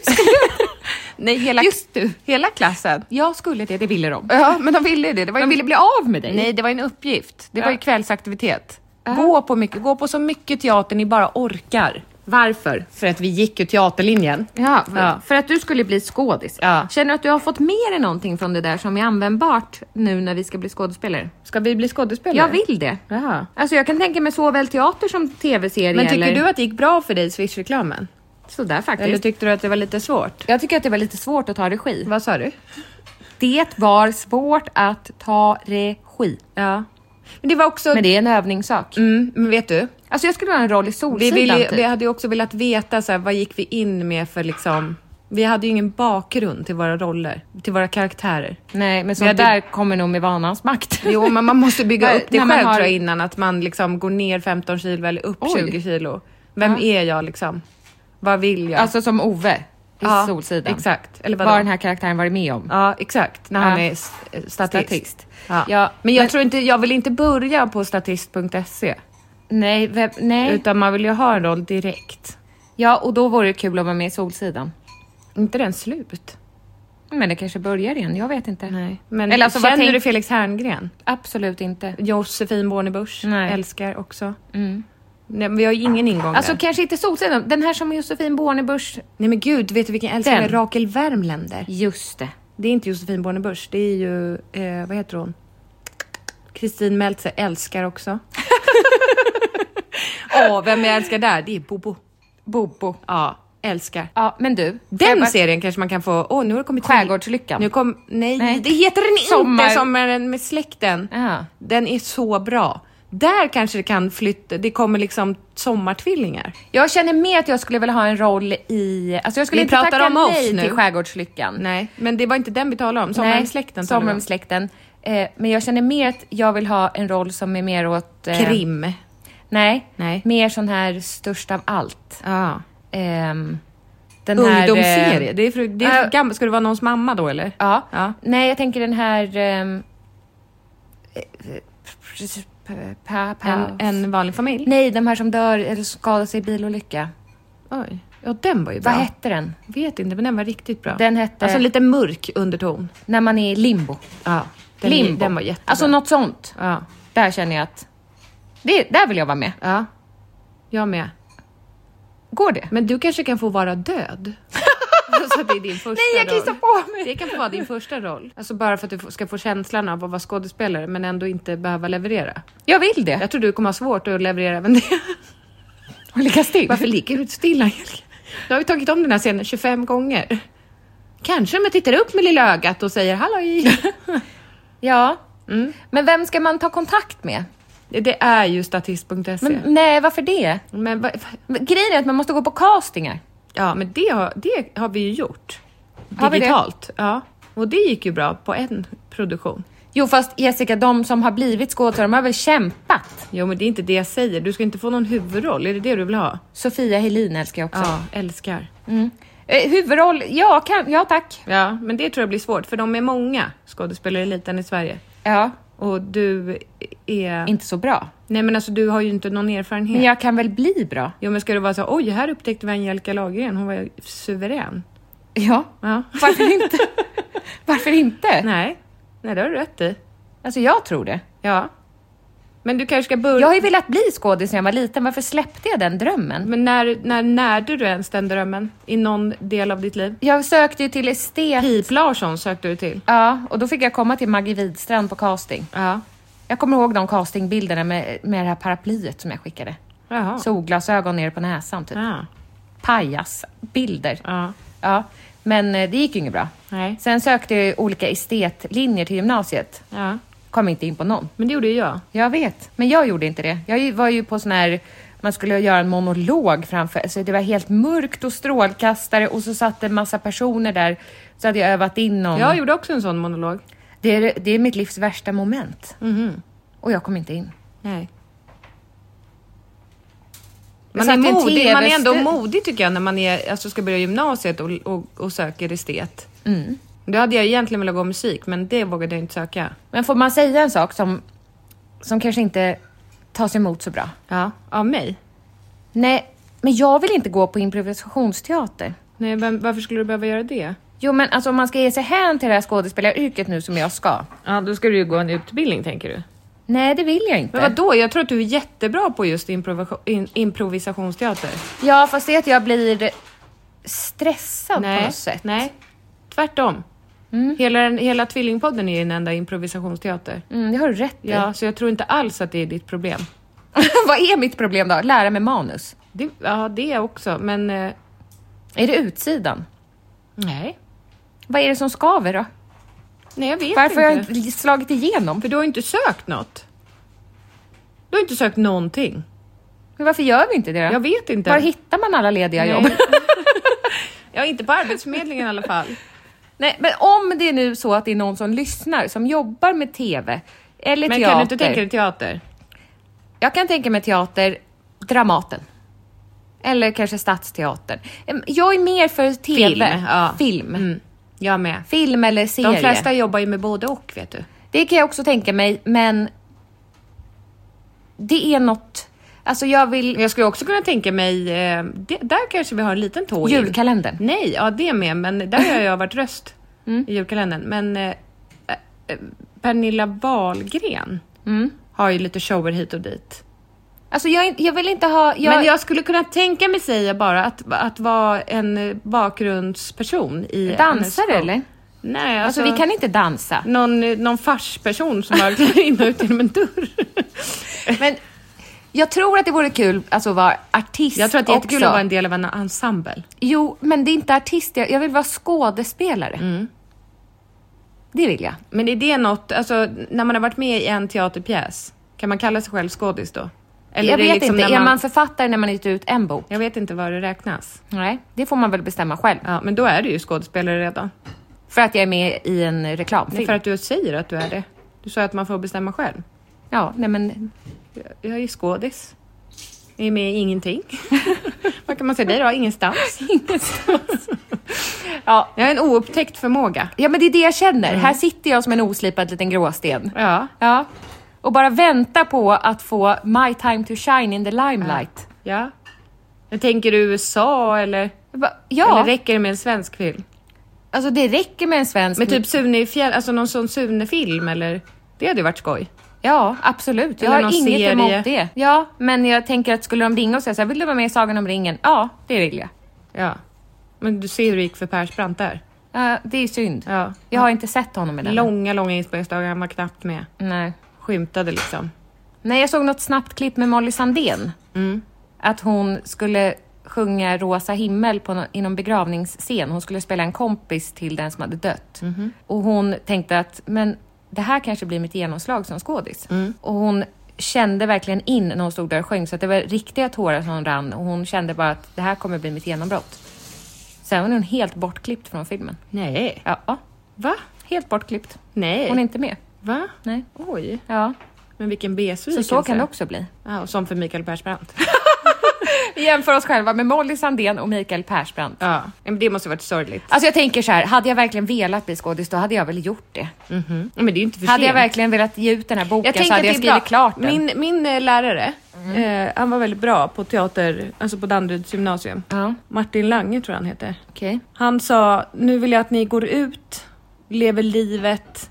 S2: Nej, hela,
S1: [LAUGHS] Just du.
S2: hela klassen.
S1: Jag skulle det, det ville de.
S2: Ja, men de ville ju det. det var ju
S1: De ville bli av med dig.
S2: Nej, det var en uppgift. Det var ju
S1: Ja.
S2: kvällsaktivitet. Gå, på mycket, gå på så mycket teater ni bara orkar.
S1: Varför?
S2: För att vi gick ju teaterlinjen.
S1: Ja, för,
S2: Ja.
S1: för att du skulle bli skådis.
S2: Ja.
S1: Känner du att du har fått med dig någonting från det där som är användbart nu när vi ska bli skådespelare?
S2: Ska vi bli skådespelare?
S1: Jag vill det.
S2: Jaha.
S1: Alltså jag kan tänka mig såväl teater som tv-serie
S2: Men tycker
S1: eller
S2: du att det gick bra för dig i Swish-reklamen?
S1: sådär faktiskt.
S2: Eller tyckte du att det var lite svårt?
S1: jag tycker att det var lite svårt att ta regi.
S2: Vad sa du?
S1: Det var svårt att ta regi.
S2: Ja.
S1: Men det var också... Men det är en övningssak.
S2: Mm, men vet du?
S1: Alltså jag skulle ha en roll i
S2: Vi,
S1: Solsidan
S2: ville, ju-
S1: typ.
S2: vi hade ju också velat veta så här, vad gick vi in med för liksom... Vi hade ju ingen bakgrund till våra roller, till våra karaktärer.
S1: Nej, men sånt
S2: Vi hade-
S1: där kommer nog med vanans makt.
S2: Jo, men man måste bygga
S1: Nej,
S2: upp det
S1: när
S2: själv
S1: man har-
S2: tror jag innan. Att man liksom går ner 15 kilo eller upp
S1: Oj.
S2: 20 kilo. Vem är jag liksom? Vad vill jag?
S1: [LAUGHS] Alltså som Ove i
S2: Ja,
S1: Solsidan.
S2: Exakt. Eller
S1: Vad
S2: vadå?
S1: har den här karaktären varit med om?
S2: Ja, exakt. När han
S1: Ja.
S2: är s- statist.
S1: Statist.
S2: Ja.
S1: Ja,
S2: men jag
S1: men-
S2: tror inte, jag vill inte börja på statist.se.
S1: Nej, vem, nej.
S2: Utan man vill ju ha en roll direkt.
S1: Ja, och då vore det kul att vara med i Solsidan.
S2: inte den slut?
S1: Men det kanske börjar igen, jag vet inte.
S2: Nej. Men
S1: Eller alltså, vad
S2: känner
S1: tänk-
S2: du Felix Herngren?
S1: Absolut inte.
S2: Josefin Bornebusch?
S1: Nej. Mm.
S2: Älskar också. Nej, men vi har ju ingen ingång
S1: Alltså
S2: där.
S1: kanske inte Solsidan, den här som Josefin Bornebusch.
S2: Nej men gud, vet du vilken jag älskar?
S1: Den.
S2: Rakel Värmländer.
S1: Just det.
S2: Det är inte Josefin Bornebusch, det är ju, eh, vad heter hon? Kristin Meltzer älskar
S1: [LAUGHS]
S2: också. Åh, vem jag älskar där? Det är Bobo.
S1: Bobo.
S2: Ja, älskar.
S1: Ja, men du.
S2: Den
S1: bara-
S2: serien kanske man kan få, åh nu har det kommit till-
S1: Skärgårdslyckan.
S2: Nu kom, nej,
S1: Nej.
S2: det heter den
S1: Sommar-
S2: inte, Sommaren med släkten.
S1: Ja.
S2: Den är så bra. Där kanske det kan flytta, det kommer liksom sommartvillingar.
S1: Jag känner mer att jag skulle vilja ha en roll i... Alltså jag skulle
S2: Vi
S1: inte
S2: pratar
S1: tacka
S2: om oss
S1: nej
S2: nu.
S1: till Skärgårdslyckan.
S2: Nej, men det var inte den vi talade om, Sommaren med släkten talade vi
S1: Sommar
S2: om.
S1: med släkten. Eh, men jag känner mer att jag vill ha en roll som är mer åt... eh,
S2: Krim.
S1: Nej,
S2: Nej.
S1: mer sån här störst av allt.
S2: Ja.
S1: Ehm, den här, eh,
S2: Ungdomsserie? Det är för, det är för
S1: Ja.
S2: gammalt. Ska det vara någons mamma då eller?
S1: Ja.
S2: Ja.
S1: eh, Nej, jag tänker den här... ehm,
S2: p- pa, pa,
S1: En- en
S2: vanlig familj?
S1: Nej, de här som dör eller skadar sig i bilolycka.
S2: Oj. Ja, den var ju bra.
S1: Vad hette den?
S2: Vet inte, men den var riktigt bra.
S1: Den eh. hette-
S2: Alltså lite mörk underton.
S1: När man är i limbo.
S2: Ja. Den,
S1: limbo.
S2: den var jättebra.
S1: Alltså något sånt.
S2: Ja.
S1: Där känner jag att... Det, där vill jag vara med.
S2: ja. Jag med.
S1: Går det?
S2: Men du kanske kan få vara död?
S1: [LAUGHS]
S2: alltså det är din första
S1: Nej, jag
S2: roll.
S1: kissar på mig.
S2: Det kan få vara din första roll. Alltså bara för att du f- ska få känslan av att vara skådespelare men ändå inte behöva leverera.
S1: Jag vill det.
S2: Jag tror du kommer ha svårt att leverera även det.
S1: Och ligga still.
S2: Varför ligger du stilla Angelica? Du har ju tagit om den här scenen 25 gånger. Kanske om jag tittar upp med lilla ögat och säger
S1: [LAUGHS]
S2: halloj.
S1: Ja.
S2: Mm.
S1: Men vem ska man ta kontakt med?
S2: Det är ju statist.se.
S1: Men, mm.
S2: Men,
S1: nej, varför det?
S2: va-
S1: Men Grejen är att man måste gå på castingar.
S2: ja, men det har, det har vi ju gjort.
S1: Har vi det?
S2: Digitalt. Ja. Och det gick ju bra på en produktion.
S1: Jo, fast Jessica, de som har blivit skådespelare, de har väl kämpat?
S2: Jo, men det är inte det jag säger. Du ska inte få någon huvudroll. Är det det du vill ha?
S1: Sofia Helin älskar jag också.
S2: Ja, älskar.
S1: Eh, huvudroll, ja, kan, ja tack.
S2: Ja, men det tror jag blir svårt för de är många skådespelare i eliten i Sverige.
S1: Ja,
S2: Och du är...
S1: inte så bra.
S2: Nej, men alltså du har ju inte någon erfarenhet.
S1: Men jag kan väl bli bra?
S2: Jo men ska det vara så oj här upptäckte vi Angelica Lagergren, hon var ju suverän.
S1: Ja,
S2: Ja.
S1: varför inte? varför inte?
S2: Nej, nej det har du rätt i.
S1: Alltså jag tror det.
S2: Ja. Men du kanske ska börja...
S1: Jag har ju velat bli skådis när jag var liten, varför släppte jag den drömmen?
S2: Men när, när närde du ens den drömmen? I någon del av ditt liv?
S1: Jag sökte ju till estet.
S2: Pip Larsson sökte du till.
S1: Ja, och då fick jag komma till Maggie Widstrand på casting.
S2: Ja.
S1: Jag kommer ihåg de castingbilderna med, med det här paraplyet som jag skickade.
S2: Jaha.
S1: Solglasögon ner på näsan, typ.
S2: Ja.
S1: Pajasbilder.
S2: ja.
S1: Ja, men eh, det gick ju inget bra.
S2: Nej.
S1: Sen sökte jag ju olika estetlinjer till gymnasiet.
S2: Ja.
S1: Kom inte in på någon.
S2: Men det gjorde ju jag.
S1: Jag vet, men jag gjorde inte det. Jag ju- var ju på sån här, man skulle göra en monolog framför, så det var helt mörkt och strålkastare och så satt det en massa personer där. Så hade jag övat in någon.
S2: Jag gjorde också en sån monolog.
S1: Det, är, det är mitt livs värsta moment.
S2: Mhm.
S1: Och jag kom inte in.
S2: Nej.
S1: Jag
S2: Man är,
S1: satt i en
S2: modig, man är ändå
S1: TV-stu-
S2: modig tycker jag när man är, alltså, ska börja gymnasiet och, och, och söker estet. Mm. Då hade jag egentligen velat gå musik, men det vågade jag inte söka.
S1: Men får man säga en sak som, som kanske inte tas emot så bra?
S2: Ja. Av mig?
S1: Nej, men jag vill inte gå på improvisationsteater.
S2: Nej, vem, varför skulle du behöva göra det?
S1: Jo, men alltså om man ska ge sig hän till det här skådespelaryrket nu som jag ska.
S2: Ja, då ska du ju gå en utbildning tänker du.
S1: Nej, det vill jag inte.
S2: Men vadå? Jag tror att du är jättebra på just improvisation, in, improvisationsteater.
S1: Ja, fast det är att jag blir stressad på
S2: Nej,
S1: något sätt.
S2: nej. Tvärtom. Hela, den- hela Tvillingpodden är ju en enda improvisationsteater.
S1: Mm, det har du rätt i.
S2: Ja, så jag tror inte alls att det är ditt problem.
S1: [LAUGHS] Vad är mitt problem då? Lära mig manus?
S2: Det, ja, det också, men... eh,
S1: Är det utsidan?
S2: Nej.
S1: Vad är det som skaver då?
S2: Nej, jag vet
S1: Varför har jag
S2: inte.
S1: inte slagit igenom?
S2: För du har ju inte sökt något. Du har inte sökt någonting.
S1: Men Varför gör vi inte det då?
S2: Jag vet inte.
S1: Var hittar man alla lediga
S2: Nej.
S1: jobb?
S2: [LAUGHS] Ja, inte på Arbetsförmedlingen i alla
S1: [LAUGHS]
S2: fall.
S1: Nej, men om det är nu så att det är någon som lyssnar som jobbar med TV eller
S2: Men
S1: teater.
S2: kan du inte tänka dig teater?
S1: Jag kan tänka mig teater, Dramaten. Eller kanske Stadsteatern. Em, Jag är mer för TV.
S2: Film, ja.
S1: Film.
S2: Jag med.
S1: Film eller serie.
S2: De flesta jobbar ju med både och, vet du.
S1: Det kan jag också tänka mig, men det är något... Alltså jag vill...
S2: Jag skulle också kunna tänka mig... Eh, det, där kanske vi har en liten tå in.
S1: Julkalendern.
S2: Nej, ja det med, men där har jag varit
S1: [LAUGHS]
S2: röst
S1: Mm.
S2: i julkalendern. Men eh, eh, eh, Pernilla Wahlgren
S1: Mm.
S2: har ju lite shower hit och dit.
S1: Alltså jag, är inte- jag vill inte ha... Jag,
S2: Men jag skulle kunna tänka mig säga bara att, att vara en eh, bakgrundsperson i...
S1: dansare
S2: hennes show.
S1: eller?
S2: Nej, alltså,
S1: Alltså vi kan
S2: [LAUGHS]
S1: inte dansa.
S2: någon, eh, någon farsperson som bara kliver in och ut genom en dörr.
S1: Men jag tror att det vore kul alltså, att vara artist
S2: Jag tror att det är jättekul
S1: också.
S2: att vara en del av en ensemble.
S1: Jo, men det är inte artist. Jag, jag vill vara skådespelare.
S2: Mm.
S1: Det vill jag.
S2: Men är det något, alltså när man har varit med i en teaterpjäs, kan man kalla sig själv skådis då? Eller
S1: jag
S2: är det
S1: vet
S2: liksom
S1: inte.
S2: när
S1: Är man författare när man gett ut en bok?
S2: Jag vet inte vad det räknas.
S1: Nej, det får man väl bestämma själv.
S2: Ja, men då är du ju skådespelare redan.
S1: För att jag är med i en
S2: Det är
S1: reklamfilm.
S2: för att du säger att du är det. Du sa att man får bestämma själv.
S1: Ja, nej men
S2: Jag är ju skådis. Jag är med i ingenting. [LAUGHS] vad kan man säga dig då? Ingenstans.
S1: ingenstans. ja.
S2: Jag har en oupptäckt förmåga. Mm.
S1: ja, men det är det jag känner. Här sitter jag som en oslipad liten gråsten.
S2: Ja.
S1: Ja. Och bara vänta på att få My time to shine in the limelight.
S2: Ja. Men tänker du USA eller?
S1: Jag bara, ja,
S2: Eller räcker det med en svensk film?
S1: alltså det räcker med en svensk.
S2: Men typ Sune i fjäll, alltså någon sån Sune-film eller? Det hade ju varit skoj.
S1: Ja, absolut. Jag
S2: Eller
S1: har
S2: någon
S1: inget
S2: serie.
S1: emot det. Ja, men jag tänker att skulle de ringa och säga så här, vill du vara med i Sagan om ringen? Ja, det vill jag.
S2: Ja. Men du ser hur det gick för Persbrandt där.
S1: Eh, det är synd.
S2: Ja.
S1: Jag har inte sett honom i den.
S2: Långa, långa inspelningsdagar, han var knappt med.
S1: Nej.
S2: Skymtade liksom.
S1: Nej, jag såg något snabbt klipp med Molly Sandén. Att hon skulle sjunga Rosa himmel på nå- i någon begravningsscen. Hon skulle spela en kompis till den som hade dött. Och hon tänkte att, men det här kanske blir mitt genomslag som skådis. Och hon kände verkligen in när hon stod där och sjöng, så att det var riktiga tårar som rann. Och hon kände bara att det här kommer bli mitt genombrott. Sen var hon helt bortklippt från filmen.
S2: Nej.
S1: Ja, ja.
S2: Va?
S1: helt bortklippt.
S2: Nej.
S1: Hon är inte med.
S2: Va?
S1: Nej.
S2: Oj.
S1: Ja,
S2: Men vilken besvikelse.
S1: så, så kan det också bli.
S2: Ja, och som för Mikael Persbrandt.
S1: Vi jämför oss själva med Molly Sandén och Mikael Persbrandt.
S2: ja. Men det måste varit sorgligt.
S1: Alltså jag tänker så här, hade jag verkligen velat bli skådis då hade jag väl gjort det.
S2: Mm-hmm. Men det är ju inte för
S1: Hade jag
S2: sent.
S1: verkligen velat ge ut den här boken
S2: Jag
S1: så
S2: tänker
S1: hade Mm. jag
S2: att det är bra.
S1: skrivit klart den.
S2: Min, min eh, lärare, eh, han var väldigt bra på teater, alltså på Danderyds gymnasium.
S1: Ja.
S2: Martin Lange tror jag han heter.
S1: Okej.
S2: Han sa, nu vill jag att ni går ut, lever livet,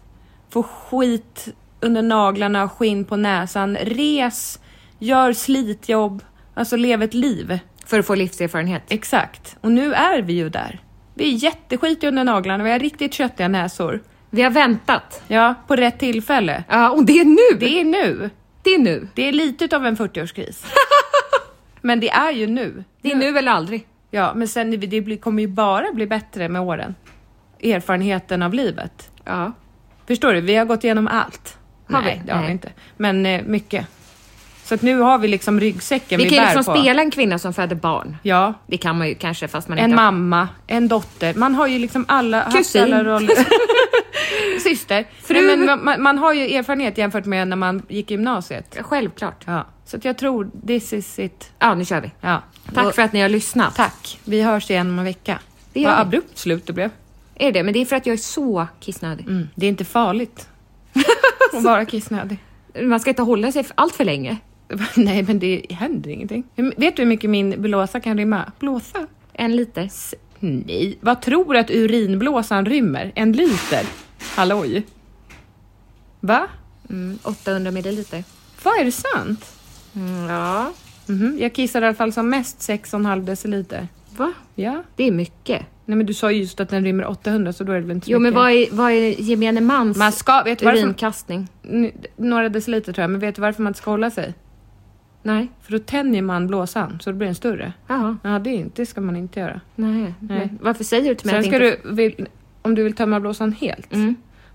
S2: får skit under naglarna, skinn på näsan, res, gör slitjobb, alltså lev ett liv.
S1: För att få livserfarenhet.
S2: Exakt. Och nu är vi ju där. Vi är jätteskitiga under naglarna, vi har riktigt köttiga näsor.
S1: Vi har väntat.
S2: Ja, på rätt tillfälle.
S1: Ja, och det är nu!
S2: Det är nu.
S1: Det är nu.
S2: Det är lite av en
S1: [LAUGHS]
S2: 40-årskris. men det är ju nu.
S1: Det är nu eller aldrig.
S2: Ja, men sen det blir- kommer ju bara bli bättre med åren. Erfarenheten av livet.
S1: Ja.
S2: Förstår du? Vi har gått igenom allt.
S1: Har
S2: Nej,
S1: vi?
S2: det har
S1: Nej.
S2: vi inte. Men eh, mycket. Så att nu har vi liksom ryggsäcken vi,
S1: Vi kan
S2: bär
S1: liksom
S2: på.
S1: spela en kvinna som föder barn.
S2: Ja,
S1: Det kan man ju kanske fast man
S2: en
S1: inte...
S2: mamma, en dotter. Man har ju liksom alla... haft
S1: Kusin.
S2: Alla roller. [LAUGHS]
S1: [LAUGHS]
S2: Syster.
S1: Fru.
S2: Nej, men man, man har ju erfarenhet jämfört med när man gick i gymnasiet.
S1: Självklart.
S2: Ja. Så att jag tror this is it.
S1: Ja, nu kör vi.
S2: Ja.
S1: Tack
S2: Och-
S1: för att ni har lyssnat.
S2: Tack. Vi hörs igen om en vecka.
S1: Det gör
S2: Vad
S1: vi.
S2: abrupt slut det blev.
S1: Är det Men det är för att jag är så kissnödig.
S2: Mm. Det är inte [LAUGHS] farligt. Att vara kissnödig. [LAUGHS]
S1: Man ska inte hålla sig för- allt för länge.
S2: Nej, men det händer ingenting. Hur- Vet du hur mycket min blåsa kan rymma? Blåsa?
S1: En liter.
S2: S- Nej. Vad tror du att urinblåsan rymmer? En liter? Halloj? Va?
S1: Mm, 800 milliliter.
S2: Vad är det sant?
S1: Mm, Ja.
S2: Mhm, Jag kissar i alla fall som mest 6,5 deciliter.
S1: Va?
S2: Ja.
S1: Det är mycket.
S2: Nej, men du sa ju just att den rymmer 800 så då är det väl inte så
S1: Jo, men
S2: mycket.
S1: vad är, vad är gemene mans
S2: Man ska, vet du varför?
S1: urinkastning?
S2: N- Några deciliter tror jag, men vet du varför man inte ska hålla sig?
S1: Nej.
S2: För då tänjer man blåsan så då blir den större.
S1: Jaha.
S2: Ja, det, är inte- det ska man inte göra.
S1: Nej. Men Mm. varför säger du till mig
S2: Sen
S1: att
S2: ska
S1: inte...
S2: du, vill, om du vill tömma blåsan helt,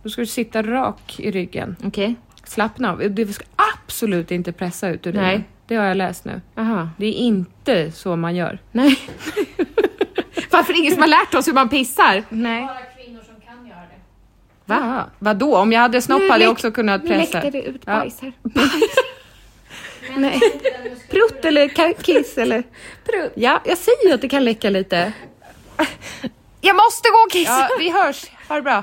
S2: då ska du sitta rak i ryggen.
S1: Okej.
S2: Slappna av. Du ska absolut inte pressa ut urinen.
S1: Nej.
S2: Det har jag läst nu.
S1: Jaha.
S2: Det är inte så man gör.
S1: Nej. [LAUGHS] varför är det ingen som har lärt oss hur man pissar?
S2: Nej. Bara kvinnor som kan göra det. Va? Vadå? Om jag hade snopp
S1: Nu
S2: hade jag
S1: läck-
S2: också kunnat
S1: nu
S2: pressa.
S1: läckte det ut
S2: Ja.
S1: bajs här. [LAUGHS] Nej. Prutt eller ka- kiss eller? Prutt.
S2: Ja, jag säger ju att det kan läcka lite.
S1: Jag måste gå och kissa!
S2: Ja, vi hörs. Ha det bra.